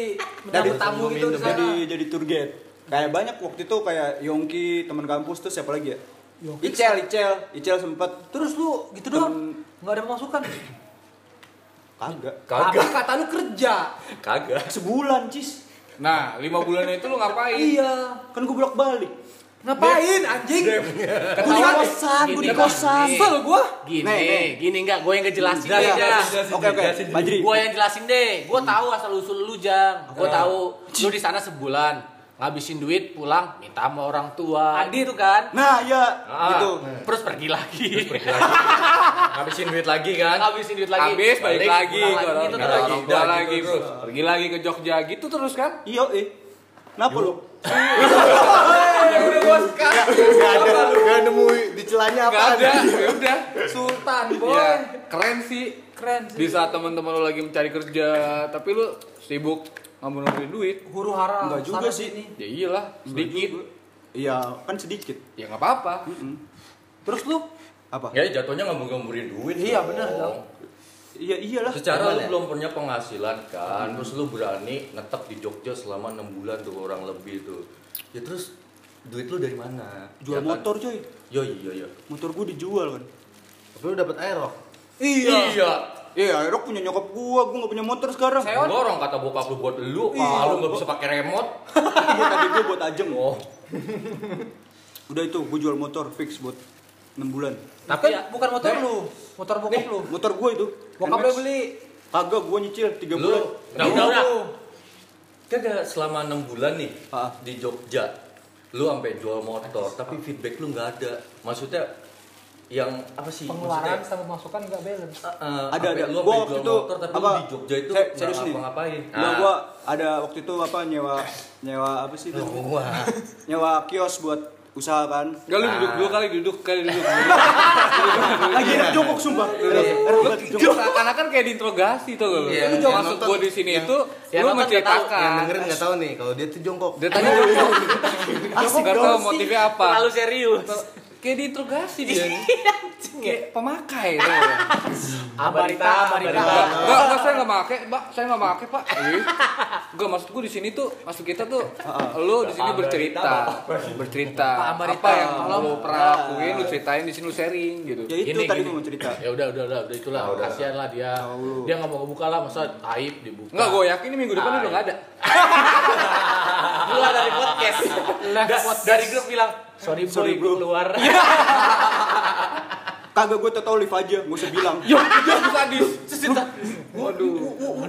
S1: mendapat tamu gitu di sana.
S5: Jadi jadi tour guide. Kayak banyak waktu itu kayak Yongki teman kampus tuh siapa lagi ya?
S1: Yongki.
S5: Icel, Icel, Icel sempet
S1: Terus lu gitu doang. Enggak ada pemasukan.
S5: kagak.
S1: Tapi
S2: Kagak,
S1: kata lu kerja.
S2: kagak.
S5: Sebulan cis.
S6: Nah, lima bulan itu lu ngapain?
S1: Iya.
S5: Kan gue bolak balik.
S1: Ngapain anjing?
S5: Gue di
S1: Ketawa.
S5: kosan, gue di
S6: Gini,
S5: kosan.
S1: Kesel gua.
S6: Gini,
S5: Nih, nih.
S6: gini enggak, gue yang ngejelasin
S5: Iya,
S6: deh,
S5: iya.
S6: Jang.
S5: Oke oke, Badri.
S6: Gue yang jelasin deh. Gue tahu asal usul lu, Jang.
S3: Nah.
S6: Gue tahu lu di sana sebulan ngabisin duit pulang minta sama orang tua
S1: Adit.
S6: itu kan
S5: Nah, ya
S6: Ah,
S5: gitu.
S6: terus pergi lagi
S2: Habisin duit lagi kan?
S6: ngabisin duit lagi
S3: Habis balik
S6: Balik,
S3: lagi
S6: pulang
S3: ke
S6: lagi,
S3: orang
S6: gitu
S3: tua
S2: terus.
S3: lagi, udah lagi terus. Pergi lagi ke Jogja gitu terus kan?
S5: Iya, eh. Kenapa lu?
S1: Iya,
S4: Gak ada, gak nemu di celahnya apa
S3: Gak ada,
S4: ada.
S3: ya udah.
S1: Sultan, boy.
S3: Ya, keren sih.
S1: Keren
S3: Di
S1: sih.
S3: saat teman-teman lu lagi mencari kerja, tapi lu sibuk ngomongin duit.
S1: Huru hara.
S5: Enggak juga
S1: sana
S5: sih.
S1: sini.
S3: Ya iyalah, sedikit.
S5: Iya, kan sedikit.
S3: Ya nggak apa-apa.
S1: Terus lu?
S5: Apa?
S2: Ya jatuhnya ngambung-ngamburin duit. Oh.
S1: Iya,
S2: dong.
S1: bener, Dong.
S5: Iya, iyalah.
S2: Secara lu
S4: Gimana?
S2: belum punya penghasilan kan, terus lu berani netep di Jogja selama 6 bulan tuh orang lebih tuh. Ya terus duit lu dari mana? Ya
S5: Jual
S2: kan?
S5: motor, coy.
S2: Yo iya iya.
S5: Motor gue dijual kan.
S4: Tapi lu dapet aerok.
S1: Iya.
S5: Iya, Aerok punya nyokap gua, gua gak punya motor sekarang.
S1: Sewa.
S2: Dorong kata bokap lu buat lu, ah lu nggak bisa pakai remote.
S5: Iya, tadi gua buat ajeng.
S2: Oh.
S5: Udah itu, gua jual motor fix buat 6 bulan.
S1: Tapi Kan ya, bukan motor lu, motor bokap lu.
S5: Motor gua itu.
S1: Bokap lu
S5: NMAX.
S1: beli.
S5: Kagak, gua nyicil 3
S2: Lu
S5: bulan. Iya.
S2: udah udah. udah. Kagak selama 6 bulan nih
S5: Ah.
S2: di Jogja. Lu sampai jual motor, tapi feedback lu nggak ada. Maksudnya yang apa sih?
S1: Pengeluaran
S2: Maksudnya,
S1: sama pemasukan enggak balance.
S5: Ada,
S2: ada ada
S5: ada.
S2: lu
S5: Gua
S2: sampai
S5: waktu
S2: jual
S5: itu,
S2: motor tapi
S5: apa,
S2: lu di Jogja itu
S5: saya-
S2: nggak
S5: serius nih.
S2: ngapa-ngapain. Ah.
S5: Nah, gua ada waktu itu apa nyewa nyewa apa
S2: Ah,
S5: sih itu? Nyewa kios buat usaha kan.
S3: Enggak lu duduk dua kali, duduk kali duduk.
S5: Lagi enak jongkok sumpah. Enak banget jongkok.
S3: Seakan-akan kan kayak diinterogasi tuh lu.
S4: Iya,
S3: Lu
S4: yang
S3: masuk
S4: nonton-
S3: gua di sini
S4: yang-
S3: itu
S6: yang
S3: lu
S6: nonton nggak tahu,
S4: Yang
S3: menceritakan.
S4: dengerin gak tahu nih, kalau dia tuh jongkok.
S3: Dia tanya jongkok,
S5: Asik
S3: nggak tahu
S5: dong.
S3: motifnya apa.
S6: terlalu serius
S3: Kayak diinterogasi
S1: Iya.
S3: dia.
S6: Anjing ya.
S3: Kayak pemakai tuh.
S6: Abarita, abarita.
S3: Enggak, enggak, enggak, saya enggak make, Pak. Saya enggak make, Pak. Enggak, maksud gue di sini tuh, maksud kita tuh lu di sini bercerita, bercerita
S6: Ambarita.
S3: apa yang lu pernah lakuin, lu ceritain di sini lu sharing gitu.
S5: Ya itu
S6: Gini,
S5: tadi
S6: gini.
S5: gua mau cerita.
S6: Ya udah, udah, udah, udah itulah.
S2: Ah,
S6: Kasihan lah dia. Dia nggak mau kebuka lah, masa aib dibuka.
S3: Enggak, gue yakin ini minggu depan
S6: Ah,
S3: udah enggak ada.
S6: keluar dari podcast. Da- dari grup bilang, sorry bro, Iya,
S5: Sorry, bro."
S6: keluar.
S5: Kagak gua tau live aja, gak usah bilang.
S3: Jangan sadis. Waduh.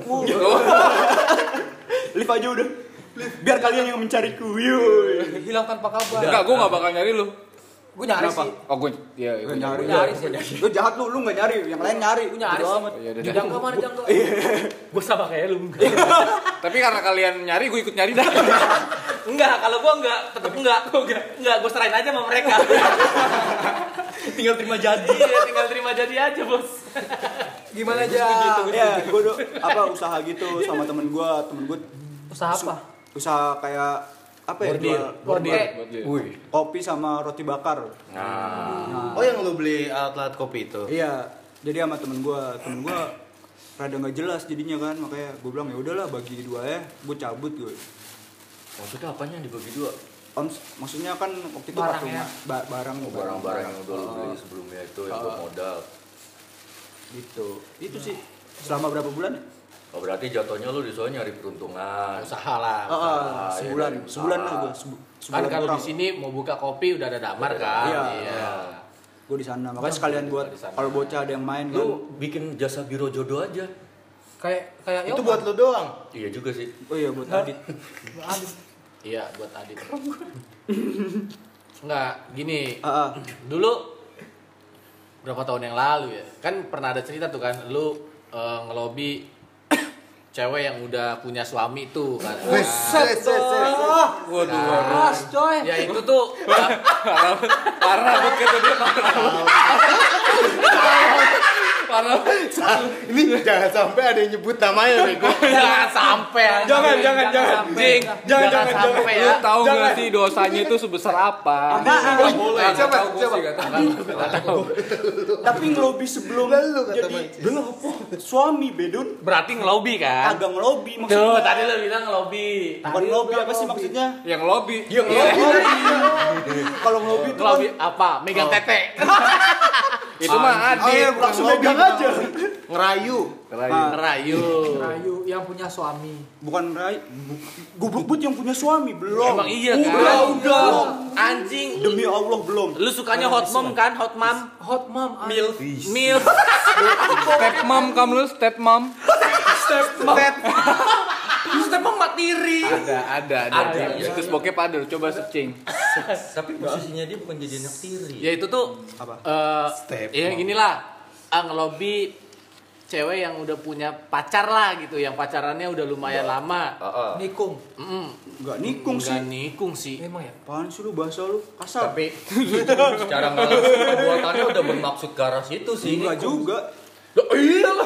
S3: Oh,
S5: Live aja udah. Biar kalian yang mencariku. Yuk.
S1: Hilang tanpa kabar.
S3: Enggak, gue enggak bakal nyari lu.
S1: Gue nyari
S3: Kenapa?
S1: sih.
S3: Oh, gue ya,
S5: Lu
S3: gue
S5: nyari,
S1: Gua nyari
S5: lu.
S1: sih.
S5: Lu jahat lu, lu gak nyari, yang lain nyari.
S1: Gue nyari
S5: Bodo
S1: sih.
S5: amat.
S3: Ya udah
S6: Iya,
S3: dah.
S1: Jangka mana jangka?
S6: Gue sama kayak lu enggak.
S3: Tapi karena kalian nyari, gue ikut nyari dah.
S6: enggak, kalau gue enggak, tetep enggak.
S1: Oh,
S6: Enggak, enggak gue serain aja sama mereka.
S2: tinggal terima jadi.
S1: ya,
S6: Iya, tinggal terima jadi aja, Bos.
S1: Gimana Ya, aja?
S5: Iya, gue apa usaha gitu sama temen gue, temen gue
S1: Usaha apa?
S5: usaha kayak apa ya jual
S1: Borde.
S3: Wih.
S5: kopi sama roti bakar.
S4: Oh yang lu beli alat-alat kopi itu?
S5: Iya, jadi sama temen gue, temen gue rada nggak jelas jadinya kan makanya gue bilang ya udahlah bagi dua ya gue cabut gue
S2: Maksudnya apanya yang dibagi dua?
S5: Om, maksudnya kan waktu itu
S1: Barangnya.
S5: kartu ma- ba- barang
S2: Oh,
S5: Oh,
S2: Barang-barang yang udah lu
S6: Ah.
S2: beli sebelumnya itu yang buat modal.
S5: gitu itu sih selama berapa bulan
S2: Oh berarti jatuhnya lu di sono nyari peruntungan.
S6: Usaha lah.
S5: Ah, ah,
S2: ya,
S5: sebulan sebulan lah
S2: usaha.
S5: gue sebu-
S6: Kan
S5: sebulan
S6: kalau
S5: kurang
S6: di sini mau buka kopi udah ada damar kan.
S5: Iya.
S6: Iya.
S5: gue di sana makanya sekalian buat kalau bocah ada yang main kan
S2: Lu bikin jasa biro jodoh aja.
S1: Kayak kayak
S4: Itu
S1: Yoman.
S4: buat lu doang.
S2: Iya juga sih.
S5: oh iya buat adit
S1: Aduh.
S6: Iya, buat Adit. Enggak, gini.
S5: ah, ah.
S6: dulu berapa tahun yang lalu ya kan pernah ada cerita tuh kan lu eh, ngelobi cewek yang udah punya suami tuh kan Ah,
S4: Set, set, set.
S3: Waduh.
S1: Keras coy.
S6: ya itu tuh
S3: Parah begitu dia parah. Parah.
S4: Ini jangan sampai ada yang nyebut namanya bego.
S6: jangan sampai anjing.
S5: Jangan, jangan, jangan.
S6: sampai.
S3: Jangan,
S6: jangan jangan sampai
S3: Lu
S6: ya
S3: tahu nggak sih dosanya itu sebesar apa?
S5: Apaan?
S3: boleh. Coba, coba.
S5: tapi ngelobi sebelum
S4: Lalu kata
S5: jadi oh,
S4: Mancis.
S5: suami bedun
S6: berarti ngelobi kan
S5: agak ngelobi
S6: tuh
S5: maksudnya
S6: tadi lu bilang ngelobi
S5: bukan ngelobi apa sih maksudnya
S3: Yang lobby.
S5: kalau ngelobi itu kan
S6: ngelobi apa megang tete
S3: Itu mah
S4: Oh
S6: Ah,
S3: adit.
S5: kan-
S4: iya, bukan
S5: langsung megang aja
S4: ngerayu
S5: Nah,
S1: Rayu.
S7: Rayu yang punya suami.
S5: bukan Rai, bu- goblok but yang punya suami belum.
S1: Emang iya kan?
S5: Oh. Udah, udah.
S1: Anjing.
S5: Demi Allah belum.
S1: Lu sukanya hot mom kan? Hot mom.
S7: Hot mom.
S1: Mil. Mil.
S3: Step mom kamu lu, step mom.
S7: Step mom matiri.
S3: Ada, ada, ada.
S2: Ada,
S3: ada. Situs bokep ada, lu coba searching.
S6: Iya,
S2: Tapi posisinya dia bukan jadi anak tiri.
S1: Ya itu tuh
S5: Apa?
S1: eh
S4: Step
S1: ya
S4: mom.
S1: ginilah ah, ngelobi cewek yang udah punya pacar lah gitu, yang pacarannya udah lumayan lama.
S2: Iya. Heeh.
S7: Nikung.
S1: Mm,
S5: Enggak nikung
S1: nggak
S5: sih.
S1: nikung sih.
S7: Emang ya?
S5: Apaan sih lu bahasa lu? Kasar.
S1: Tapi
S2: Secara nggak langsung perbuatannya udah bermaksud ke arah situ sih.
S1: Iya.
S5: Enggak juga.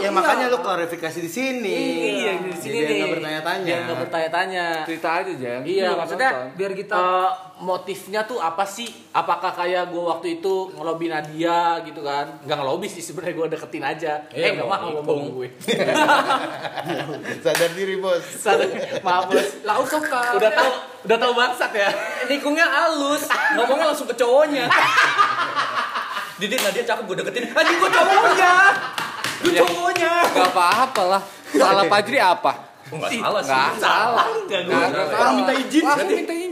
S4: ya makanya lu klarifikasi di sini
S1: iya di sini
S4: Jadi
S1: nih.
S4: nggak bertanya-tanya
S1: Biar nggak bertanya-tanya.
S3: Cerita aja, Jang.
S1: Iya,
S3: Lu
S1: maksudnya
S3: nonton.
S7: Biar kita
S1: Eh, motifnya tuh apa sih? Apakah kayak gue waktu itu ngelobi Nadia gitu kan? Nggak ngelobi sih sebenarnya gue deketin aja.
S2: Iya,
S1: eh nggak
S2: mau
S1: mau
S2: nikung.
S1: ngomong gue.
S4: sadar diri bos
S1: Sorry, Maaf bos.
S7: lau suka.
S1: Udah tahu udah tahu bangsat ya.
S2: Nikungnya halus, ngomongnya langsung ke cowoknya. Didit Nadia cakep gue deketin. Anjing gue cowoknya.
S1: Iya.
S2: Gue cowoknya.
S3: Gak apa-apa lah. Salah Pajri apa?
S2: Enggak salah sih.
S3: Nggak salah.
S1: Enggak gue.
S3: Nggak
S2: Nggak
S3: salah.
S5: minta izin.
S3: Langsung minta izin.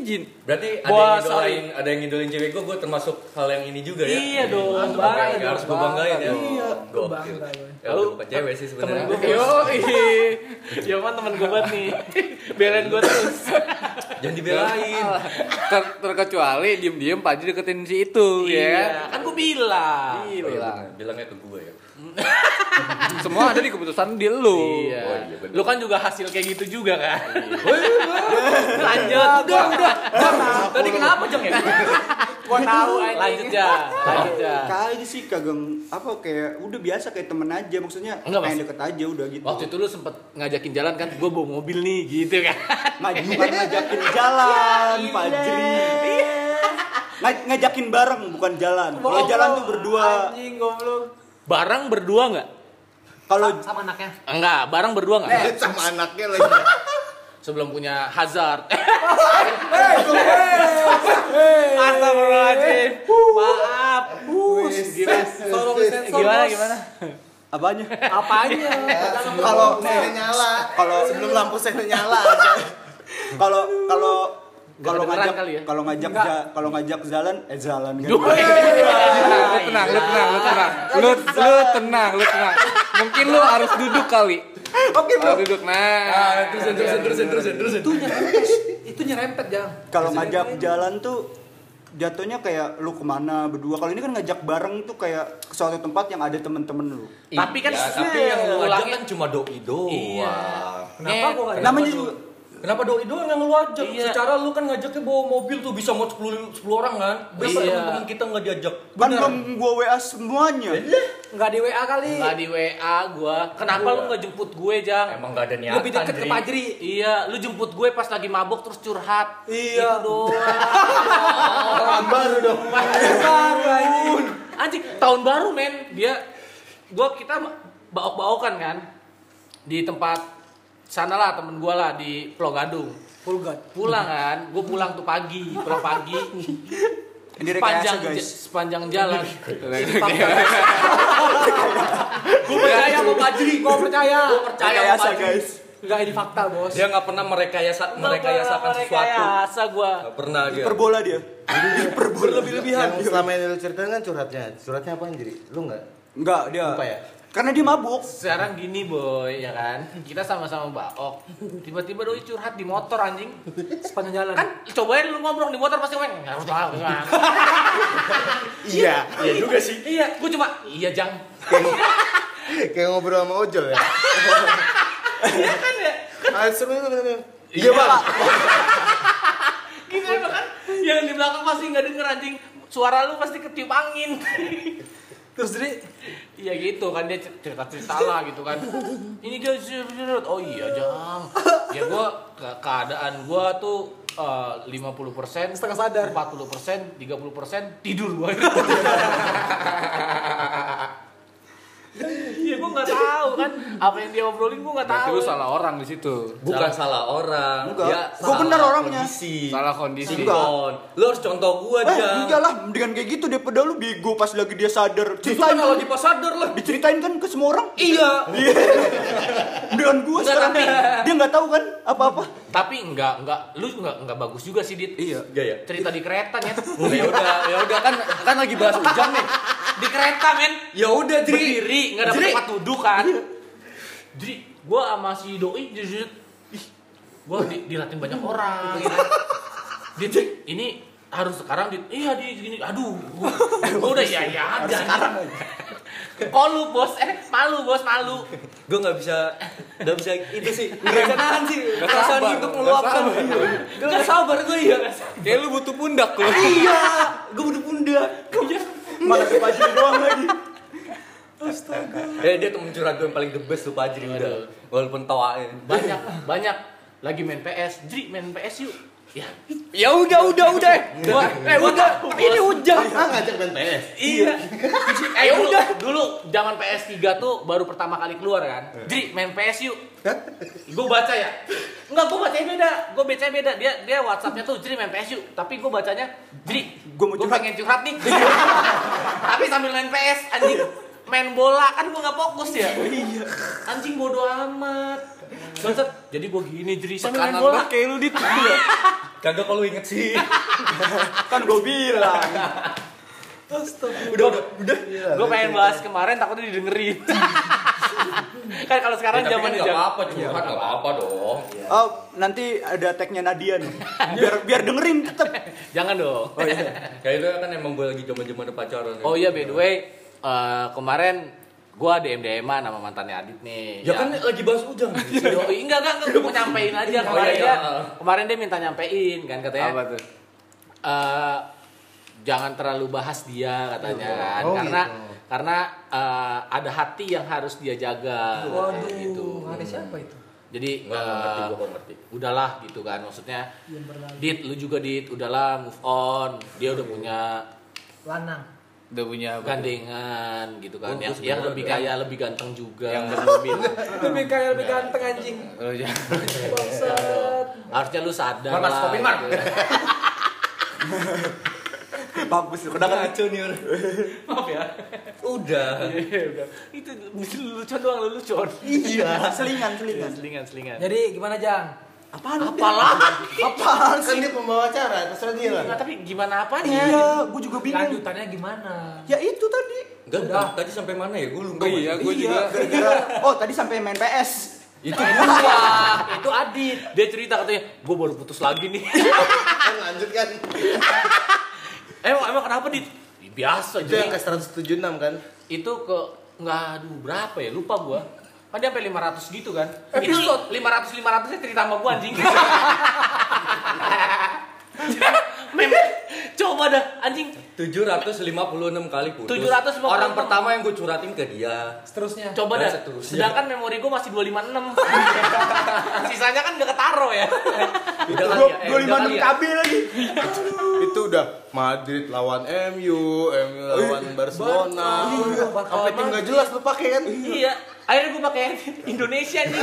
S2: Berarti ada
S1: Wah,
S2: yang ngidolain, ada yang ngidolain cewek gue, gue termasuk hal yang ini juga ya.
S1: Iya dong,
S2: Harus gue
S1: bangga
S2: banggain,
S1: dong,
S2: harus gue banggain ya. Iya, gokil.
S7: Bangga gue.
S2: Ya udah bukan cewek sih sebenarnya.
S1: Yo, yo man Iya, temen gue banget nih. Belain gue terus.
S2: Jangan dibelain.
S3: Ter terkecuali diem-diem Pajri deketin si itu ya.
S1: Iya, kan gue bilang.
S3: Iya.
S2: Oh, iya,
S3: Bilang.
S2: bener. Bilangnya ke gue ya.
S3: kan? Semua ada di keputusan di lu.
S1: Iya.
S2: Oh, iya, bener.
S1: Lu kan juga hasil kayak gitu juga kan? Iya. Lanjut.
S7: Udah, udah.
S1: Tadi kenapa Jeng ya?
S7: Gua tahu anjing.
S1: Lanjut ya. Lanjut ya.
S5: Kali sih kagak apa kayak udah biasa kayak temen aja maksudnya
S1: Enggak,
S5: pengen
S1: maksud-
S5: deket aja udah gitu.
S1: Waktu itu lu sempet ngajakin jalan kan, gue bawa mobil nih gitu kan.
S5: Ngaj- bukan ngajakin jalan, Pak Jri.
S1: Iya.
S5: Ngaj- ngajakin bareng bukan jalan. Kalau
S7: Goblok,
S5: jalan tuh berdua.
S7: Anjing goblok.
S1: Barang berdua nggak?
S5: Kalau
S7: Sama anaknya.
S1: Enggak, barang berdua nggak?
S4: sama anaknya lagi
S1: Sebelum punya hazard.
S7: Astagfirullahaladzim.
S1: Maaf.
S7: Tolong sensor.
S1: Gimana
S7: bos.
S1: gimana?
S5: apanya?
S7: Apanya?
S4: kalau
S5: Kalau-
S4: saya nyala kalau sebelum lampu saya nyala
S5: Kalau kalau kalau
S1: kedengeran
S5: ngajak
S1: kali ya?
S5: kalau ngajak ja- kalau ngajak jalan eh jalan kan.
S3: Lu tenang, lu tenang, lu tenang. Lu lu tenang, lu tenang. Mungkin lu harus duduk kali. Oke, Bro. Duduk. Nah.
S2: Terusin, terusin, terusin, terusin, terusin.
S7: Itu nyerempet. Itu nyerempet, Jang.
S5: Kalau
S1: Iya.
S5: ngajak
S2: gitu.
S5: jalan tuh jatuhnya kayak lu kemana berdua. Kalau ini kan ngajak bareng tuh kayak ke suatu tempat yang ada temen-temen lu.
S1: Tapi kan
S2: Iya, tapi
S1: sesuai
S2: yang lu ajak
S1: ulangin.
S2: kan cuma doi doang.
S1: Iya.
S7: Kenapa
S1: Net.
S7: gua nggak
S5: Namanya juga
S2: Kenapa doi doang yang lu ajak?
S1: Iya.
S2: Secara lu kan ngajaknya bawa mobil tuh bisa mau 10, 10 orang kan?
S1: Iya.
S2: Berapa teman-teman kita nggak diajak?
S5: kan belum gua WA semuanya.
S2: Iya.
S7: Nggak di WA kali.
S1: Nggak di WA gue. Kenapa lu nggak jemput gue, Jang?
S2: Emang nggak ada niatan.
S7: Lebih deket ke
S2: Dri.
S7: Pajri.
S1: Iya, lu jemput gue pas lagi mabuk terus curhat.
S7: Iya.
S1: Itu doang.
S4: orang baru dong
S7: Baru anjing.
S1: Anjing, tahun baru men. Dia gua kita baok-baokan kan di tempat sana lah temen gua lah di Pulau Gadung.
S7: Full god.
S1: Pulang kan, gue pulang tuh pagi, pulang pagi.
S5: Ini
S1: sepanjang
S5: rekayasa guys.
S1: ja- sepanjang jalan. gue percaya sama Pajri, gue percaya. Gue percaya sama
S5: Rekayasa
S1: Pajri.
S5: guys.
S7: Nggak ini fakta, bos.
S2: Dia nggak pernah merekayasa, merekayasakan sesuatu.
S1: Merekayasa gue.
S2: Nggak pernah dia.
S5: Perbola dia. Perbola lebih-lebihan.
S4: yang selama ini lu ceritain kan curhatnya curhatnya apa jadi lu nggak
S5: Enggak dia.
S4: Lupa ya?
S5: Karena dia mabuk.
S1: Sekarang gini boy, ya kan? Kita sama-sama baok. Tiba-tiba doi curhat di motor anjing.
S7: Sepanjang jalan.
S1: Kan cobain lu ngobrol di motor pasti ngomong. Harus lah, harus lah."
S4: iya
S2: Iya juga sih.
S1: Iya, gua cuma iya jang.
S4: kayak ngobrol sama ojol ya
S1: Iya kan ya?
S8: Ah,
S4: langsung itu iya pak
S1: Gini emang kan? Yang di belakang pasti nggak denger anjing. Suara lu pasti ketiup angin.
S7: Terus Dri,
S1: Iya gitu kan dia cerita-cerita lah gitu kan. Ini dia cerut oh iya jang. Ya gua ke- keadaan gua tuh eh, 50%
S7: Setengah sadar.
S1: 40% 30% tidur gua. Iya gua nggak tahu kan apa yang dia obrolin gue nggak
S3: Berarti
S1: tahu
S3: lu salah orang di situ.
S2: Bukan salah orang.
S5: Enggak.
S2: Dia Iya,
S5: Gua
S2: salah
S5: bener orangnya.
S2: Kondisi.
S3: Salah kondisi.
S5: Enggak.
S2: Don. Lu harus contoh gua,
S5: Eh,
S2: Jang.
S5: enggak lah, dengan kayak gitu daripada lu bego pas lagi dia sadar.
S2: Justru
S5: Ceritain
S2: kalau
S5: kan,
S2: di pas sadar lah.
S5: diceritain kan ke semua orang.
S2: Iya.
S5: Dengan gua sekarang dia dia nggak tahu kan apa-apa.
S1: tapi enggak enggak lu enggak enggak bagus juga sih dit iya
S2: Enggak ya?
S1: cerita di kereta ya
S2: Ya udah, ya udah kan kan lagi bahas hujan nih.
S1: di kereta men
S2: Ya udah, Dri.
S1: berdiri nggak ada
S2: Jadi-
S1: tempat duduk kan jadi gue sama si doi jadi gue di, dilatih banyak orang gitu. Dit, ini harus sekarang dit iya di gini aduh gue udah ya ya aja sekarang kolu bos eh malu bos malu
S2: Gua nggak bisa nggak bisa itu sih. Nggak bisa nahan sih. Perasaan
S3: sabar.
S2: untuk
S3: Nggak
S2: meluapkan. Gua Nggak sabar gua ya.
S3: Kayak lu butuh pundak lu.
S2: Iya. Gua udah pundak.
S5: Malah ke Fajri doang lagi.
S2: Eh dia temen curhat gue yang paling the best tuh Fajri udah. Walaupun tawain.
S1: banyak banyak lagi main PS jadi main PS yuk ya
S3: Ya udah udah udah.
S1: gua eh udah ini hujan
S8: Ah, ngajak main PS.
S1: Iya. eh ya udah. Dulu zaman PS3 tuh baru pertama kali keluar kan.
S5: Iya.
S1: Jadi main PS yuk. Gue baca ya. Enggak, gue bacanya beda. Gue bacanya beda. Dia dia WhatsAppnya tuh jadi main PS yuk. Tapi gue bacanya jadi
S5: Gua mau
S1: gue
S5: curhat.
S1: pengen curhat nih. Tapi sambil main PS anjing main bola kan gue nggak fokus ya.
S5: Iya.
S1: Anjing bodoh amat. Bangsat. Jadi gue gini jadi sambil main
S3: Kanan
S1: bola.
S3: banget kayak lu dit.
S2: Kagak kalau inget sih.
S5: Kan gua bilang.
S2: Udah udah udah.
S5: Ya,
S1: Gue pengen bahas kemarin takutnya didengerin. kan kalau
S2: Ya,
S1: sekarang
S2: tapi kan
S1: zaman
S2: nggak
S9: Iya.
S2: apa-apa curhat nggak apa-apa dong.
S5: Oh, nanti ada tag-nya Nadia nih. Biar biar dengerin tetep.
S1: Jangan dong.
S2: Kayak itu kan emang gue lagi jaman-jaman pacaran. ya.
S9: iya. Oh iya by the way, eh, kemarin gua DM DM an sama mantannya Adit nih.
S2: Ya kan lagi bahas ujang.
S9: Yoi, enggak enggak enggak gua mau nyampein aja
S2: Oh,
S9: kemarin
S2: iya,
S9: dia.
S2: iya.
S9: Kemarin dia minta nyampein kan katanya.
S3: Apa tuh?
S9: eh, jangan terlalu bahas dia katanya kan.
S8: Oh,
S9: karena
S8: gitu.
S9: karena eh, ada hati yang harus dia jaga katanya
S1: Eh,
S9: gitu.
S10: Waduh, ada siapa itu?
S9: Jadi
S2: Nggak, nggak ngerti,
S9: eh,
S2: gua nggak ngerti. Iya,
S9: udahlah gitu kan maksudnya.
S10: Yang berlalu.
S9: Dit lu juga Dit, udahlah move on. Dia udah punya
S10: Lanang.
S3: Udah punya apa?
S9: gandengan gitu kan.
S2: Oh,
S9: yang
S2: gua
S9: yang
S2: sebenarnya
S9: lebih
S2: ada.
S9: kaya, lebih ganteng juga.
S3: Yang berlebih.
S10: Lebih kaya lebih ganteng anjing.
S3: Lu
S2: Oh, iya.
S3: jangan.
S10: Bangsat.
S9: Harusnya lu sadar
S2: Mar, Mar,
S9: lah.
S2: stopin, Mar.
S9: gitu.
S5: Bagus lu
S2: Udah
S5: kadang
S2: ngaco nih orang.
S1: kan? Maaf ya. Iya.
S2: Udah.
S1: Itu lucu doang lucu.
S5: iya, selingan selingan.
S1: Selingan selingan.
S10: Jadi gimana Jang?
S5: Apaan? Apalah? Apaan
S8: Kan
S5: sih?
S8: dia pembawa acara, terserah dia lah.
S2: Iya.
S1: Nah, tapi gimana apanya? Gitu.
S5: Iya, gua juga bingung.
S10: Lanjutannya gimana?
S5: Ya itu tadi.
S2: Enggak, bentar. tadi sampai mana ya? Gue lupa.
S3: Iya, gue juga.
S5: gara-gara- Oh, tadi sampai main PS.
S2: Itu gua.
S1: Iya, Itu Adit. Dia cerita katanya, gue baru putus lagi nih.
S8: Kan lanjut kan.
S1: emang emang kenapa Dit? Ya, Biasa
S8: Itu yang
S2: Iya.
S1: jadi
S8: ke 176 kan.
S1: itu ke nggak aduh berapa ya lupa gua. Kan dia sampai 500 gitu kan.
S2: Eh,
S1: Itu
S10: Episode.
S1: 500 500 nya cerita sama gua anjing. Memang coba dah anjing
S2: 756 kali putus.
S1: 756.
S2: Orang pertama yang gue curhatin ke dia.
S10: Seterusnya.
S1: coba dah.
S2: Dan seterusnya.
S1: Sedangkan memori gua masih 256. Sisanya kan gak ketaro ya.
S2: Udah kali ya? Eh,
S5: Dua lima
S2: udah
S5: enam
S2: kali ya?
S5: KB lagi.
S4: itu udah Madrid lawan MU,
S8: Iya.
S4: MU lawan Barcelona. Sampai tim nggak jelas lu pakai kan?
S1: Iya. Akhirnya gue pakai Indonesia nih.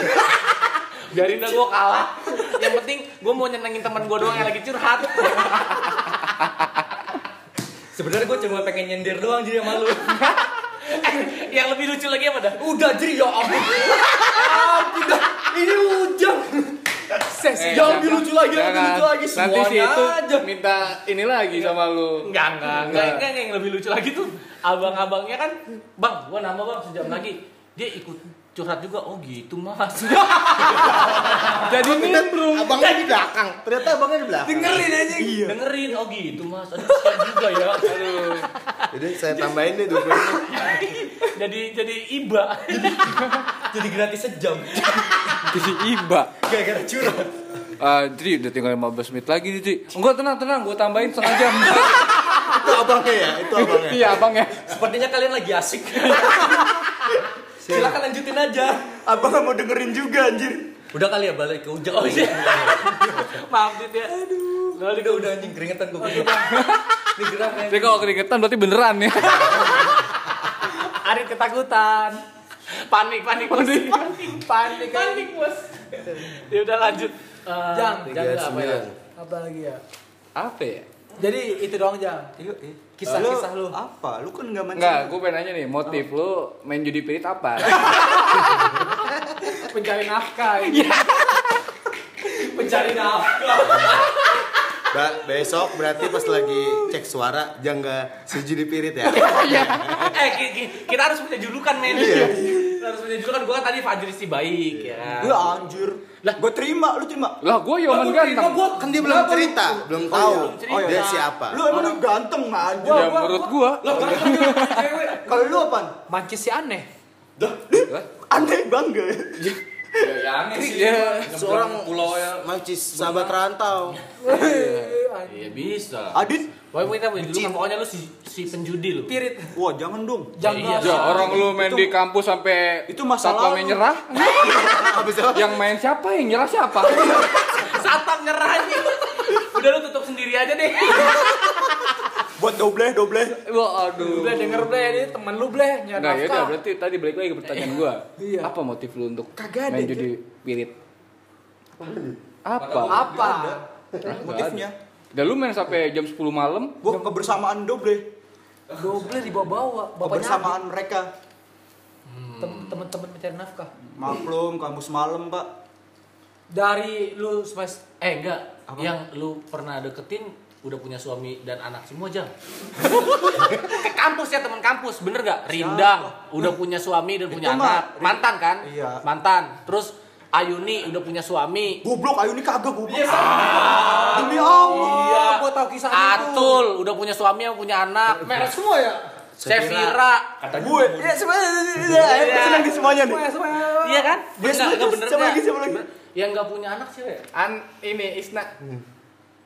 S1: Biarin dah gue kalah. Yang penting gue mau nyenengin teman gue doang yang lagi curhat.
S2: Sebenarnya gue cuma pengen nyender doang jadi sama lu.
S1: Eh, yang lebih lucu lagi apa dah?
S2: Udah jadi ya ampun. Ampun dah. Ini ujang.
S3: Eh,
S2: Yang lebih lucu lagi, yang lebih
S3: jangan.
S2: lucu lagi
S3: Nah, Nanti si
S2: semuanya
S3: itu
S2: aja.
S3: minta ini lagi sama lu.
S1: Enggak, enggak, enggak, enggak, enggak. Yang lebih lucu lagi tuh abang-abangnya kan, bang, gue nama bang sejam lagi. Dia ikut curhat juga, oh gitu mas.
S3: Jadi
S1: kan
S3: nimbrung.
S8: Abangnya di belakang. Ternyata abangnya di belakang.
S2: Dengerin aja.
S1: Dengerin, oh gitu mas. Aduh, kesian juga ya.
S4: Jadi saya tambahin deh 20 menit.
S1: Jadi jadi iba.
S2: Jadi gratis sejam.
S3: Jadi iba.
S2: Gara-gara curhat.
S3: Ah, Dri udah tinggal 15 menit lagi nih, Dri. Enggak tenang, tenang, gua tambahin setengah jam.
S4: Itu abangnya ya, itu abangnya.
S3: Iya, Bang ya.
S2: Sepertinya kalian lagi asik. Silakan lanjutin aja.
S5: Abang nggak mau dengerin juga anjir.
S2: Udah kali ya balik ke ujang. Oh iya.
S1: Maaf dit ya.
S2: Lalu udah udah anjing keringetan gue.
S1: Oh, iya,
S2: Ini gerak ya.
S3: Jadi kalau keringetan berarti beneran ya.
S1: Arit ketakutan. panik panik panik panik panik bos ya udah lanjut Eh,
S11: Jang.
S1: jang udah apa ya
S11: Apa lagi ya?
S3: Apa ya?
S11: Jadi itu doang jang. Kisah-kisah lu.
S5: Apa? Lu kan enggak mancing.
S3: Enggak, gue pengen nanya nih, motif lu main judi pirit apa?
S11: Pencari nafkah. ini.
S2: Pencari nafkah.
S4: Ba- besok berarti pas lagi cek suara jangan setuju di pirit ya.
S1: eh ki- ki- kita harus punya julukan men
S3: Iya.
S1: kita harus punya julukan gue kan tadi Fajri si baik ya kan?
S5: Lu anjur. Lah, gua terima, lu terima.
S3: Lah gue Yoman ganteng.
S11: Gua
S4: Kan dia belum cerita, iya, belum tahu dia siapa.
S5: Iya. Lu emang lu ganteng anjir.
S3: Ya menurut gue,
S5: Kalau lu apaan?
S11: Mancis si aneh.
S5: Aneh bangga.
S1: Iya,
S2: Ya, ya aneh sih.
S3: Iya.
S2: Ya.
S4: seorang pulau ya, macis sahabat rantau.
S1: ya bisa
S5: Adit,
S1: Pokoknya kita punya julukan pokoknya lu si, si penjudi lu
S11: Pirit.
S5: wah jangan dong.
S11: Jang
S1: Iya,
S11: berapa?
S3: ya orang lu main di kampus sampai
S5: Itu masa
S3: satpamnya
S5: lalu.
S3: nyerah. yang main siapa? Yang nyerah siapa?
S1: satpam nyerah aja udah lu tutup sendiri aja deh
S5: Buat doble, doble.
S3: Waduh.
S11: Udah denger bleh ini temen lu bleh nyari
S3: Nah, ya udah
S11: nafkah.
S3: berarti tadi balik lagi ke pertanyaan gua.
S11: Iya.
S3: Apa motif lu untuk
S11: Kagak ada,
S3: main
S11: Ki.
S3: judi pirit? Apa?
S11: Apa?
S5: Motifnya
S3: Dan lu main sampai jam 10 malam?
S5: gua kebersamaan doble,
S11: Doble dibawa-bawa. Bapaknya
S5: kebersamaan mereka.
S11: Tem- temen-temen mencari nafkah.
S5: Maklum, kampus malam, Pak.
S11: Dari lu smash
S1: eh enggak yang lu pernah deketin udah punya suami dan anak semua jang ke kampus ya teman kampus bener gak Rindang udah punya suami dan punya
S5: mah-
S1: anak mantan kan
S5: Iya.
S1: mantan terus Ayuni udah punya suami
S5: Goblok, ayo ini kagak goblok. Demi Allah.
S11: Iya. Gua tahu kisah itu.
S1: Atul udah punya suami yang punya anak
S11: Merah semua ya?
S1: Sevira
S5: Gue, ya semuanya, ya, senang di semuanya nih.
S11: Semua, semua.
S1: iya kan
S5: Dia
S1: Bener,
S5: semua,
S1: nggak bener
S5: sama
S1: nggak?
S5: lagi, sama lagi.
S1: yang nggak punya anak siapa ya
S3: An ini Isna.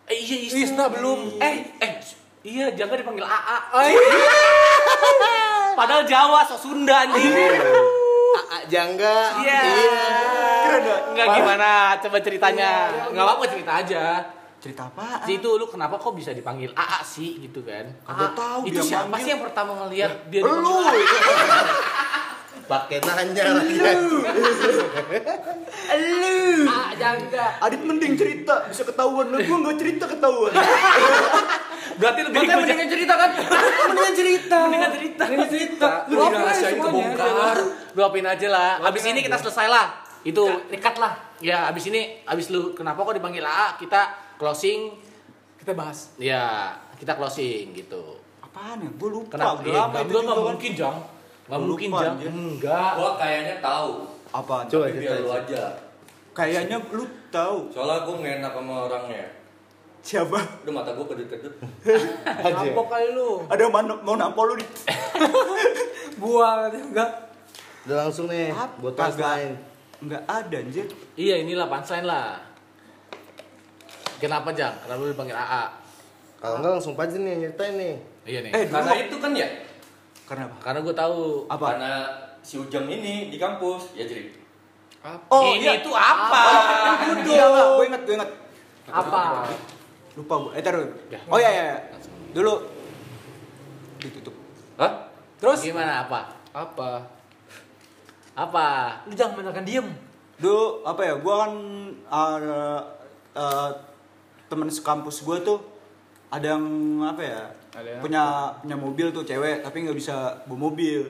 S1: eh, iya Isna.
S11: Isna belum.
S1: eh eh iya jangan dipanggil AA
S11: Oh, iya.
S1: padahal Jawa so Sunda anjing
S5: Iya.
S4: Ah, Jangga.
S1: Iya. Enggak gimana, coba ceritanya. Enggak apa-apa cerita aja.
S5: Cerita apa?
S1: Jadi itu lu kenapa kok bisa dipanggil AA sih gitu kan?
S5: Kagak
S1: AA.
S5: tahu
S1: Itu
S5: dia
S1: siapa
S5: manggil. Ya,
S1: sih yang pertama ngelihat dia
S4: Lu.
S1: dipanggil AA?
S4: Pakai nanya lagi. kan.
S11: Ah, jangga.
S5: Adit mending cerita, bisa ketahuan lu. Gua enggak cerita ketahuan.
S1: Berarti lebih
S2: Berarti mendingan cerita kan?
S11: Mendingan cerita.
S1: Mendingan cerita.
S11: Mendingan cerita. Lu
S1: Lu
S11: apa
S1: dirahasiain kebongkar. Lu apain aja lah. Abis ini kita selesai lah. Itu
S11: Dekat lah.
S1: ya abis ini abis lu kenapa kok dipanggil AA kita closing
S11: Kita bahas.
S1: ya kita closing gitu.
S5: Apaan ya? Gua lupa.
S1: Kenapa?
S5: Udah
S1: Ya,
S5: lama
S1: enggak,
S5: itu
S1: gua
S5: juga
S1: enggak
S5: kan.
S1: mungkin, Jang. Enggak
S5: Gua
S1: mungkin,
S5: lupa,
S1: Jang.
S5: anjir.
S1: Enggak.
S2: Gua kayaknya tahu.
S5: Apaan?
S4: Coba
S2: Tapi biar lu aja.
S5: Kayaknya lu tahu
S2: Soalnya gua nggak enak sama orangnya.
S5: siapa?
S2: Udah mata gua kedut-kedut.
S11: Rampok kali lu.
S5: Ada mana mau nampol lu di
S11: Gua katanya enggak.
S4: Udah langsung nih buat tas
S5: Kagak.
S4: lain.
S5: Enggak ada anjir.
S1: Iya inilah punchline lah. Kenapa Jang? Kenapa lu dipanggil AA?
S4: Kalau enggak langsung aja nih nyeritain nih.
S1: Iya nih.
S5: Eh,
S2: Karena
S5: dulu
S2: itu kan ya.
S5: karena apa?
S1: Karena gue tahu.
S5: Apa?
S2: Karena si Ujang ini di kampus ya jadi
S5: Oh,
S1: ini
S5: iya.
S1: itu apa?
S5: Iya, Pak. Gua inget, gua inget.
S11: Apa?
S5: Lupa gua. Eh, taruh.
S1: Ya.
S5: Oh iya iya. iya. Dulu ditutup.
S3: Hah?
S11: Terus
S1: Gimana apa?
S3: Apa?
S1: Apa?
S11: lu jangan menanyakan diem.
S5: Dulu apa ya? Gua kan uh, uh, teman sekampus gua tuh ada yang apa ya? punya punya mobil tuh cewek tapi nggak bisa bawa mobil.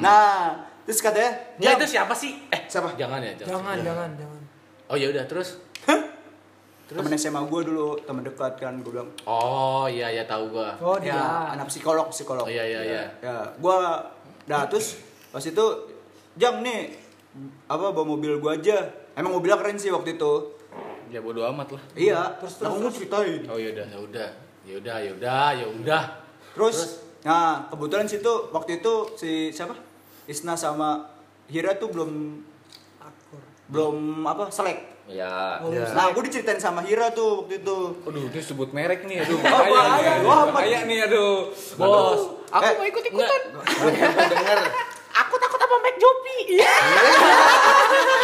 S5: Nah, terus katanya
S1: Hmm. Ya
S5: "Jam,
S1: itu siapa sih? Eh siapa? Jangan ya.
S11: Jangan, jangan, jangan.
S1: Oh ya udah terus.
S5: temen SMA gue dulu temen dekat kan gue bilang
S1: Oh iya ya tahu gue.
S11: Oh, dia.
S5: ya anak psikolog psikolog
S1: Oh iya iya iya.
S5: ya gue nah terus pas itu jam nih apa bawa mobil gue aja emang mobilnya keren sih waktu itu
S3: Ya bodo amat lah.
S5: iya terus terus ceritain
S1: Oh ya udah ya udah ya udah ya udah ya udah.
S5: terus, nah kebetulan situ waktu itu si siapa Isna sama Hira tuh belum
S11: Akur.
S5: belum apa selek
S2: ya
S11: Oh, lu
S5: nah gue diceritain sama Hira tuh waktu itu
S3: Aduh, dia sebut merek nih, aduh
S5: bahaya,
S3: bahaya. bahaya,
S5: bahaya,
S3: bahaya nih, aduh.
S1: Bos.
S3: Aku
S5: Eh,
S3: mau ikut-ikutan.
S4: Belum pernah denger.
S1: Aku takut sama Mike Jopi. Iya.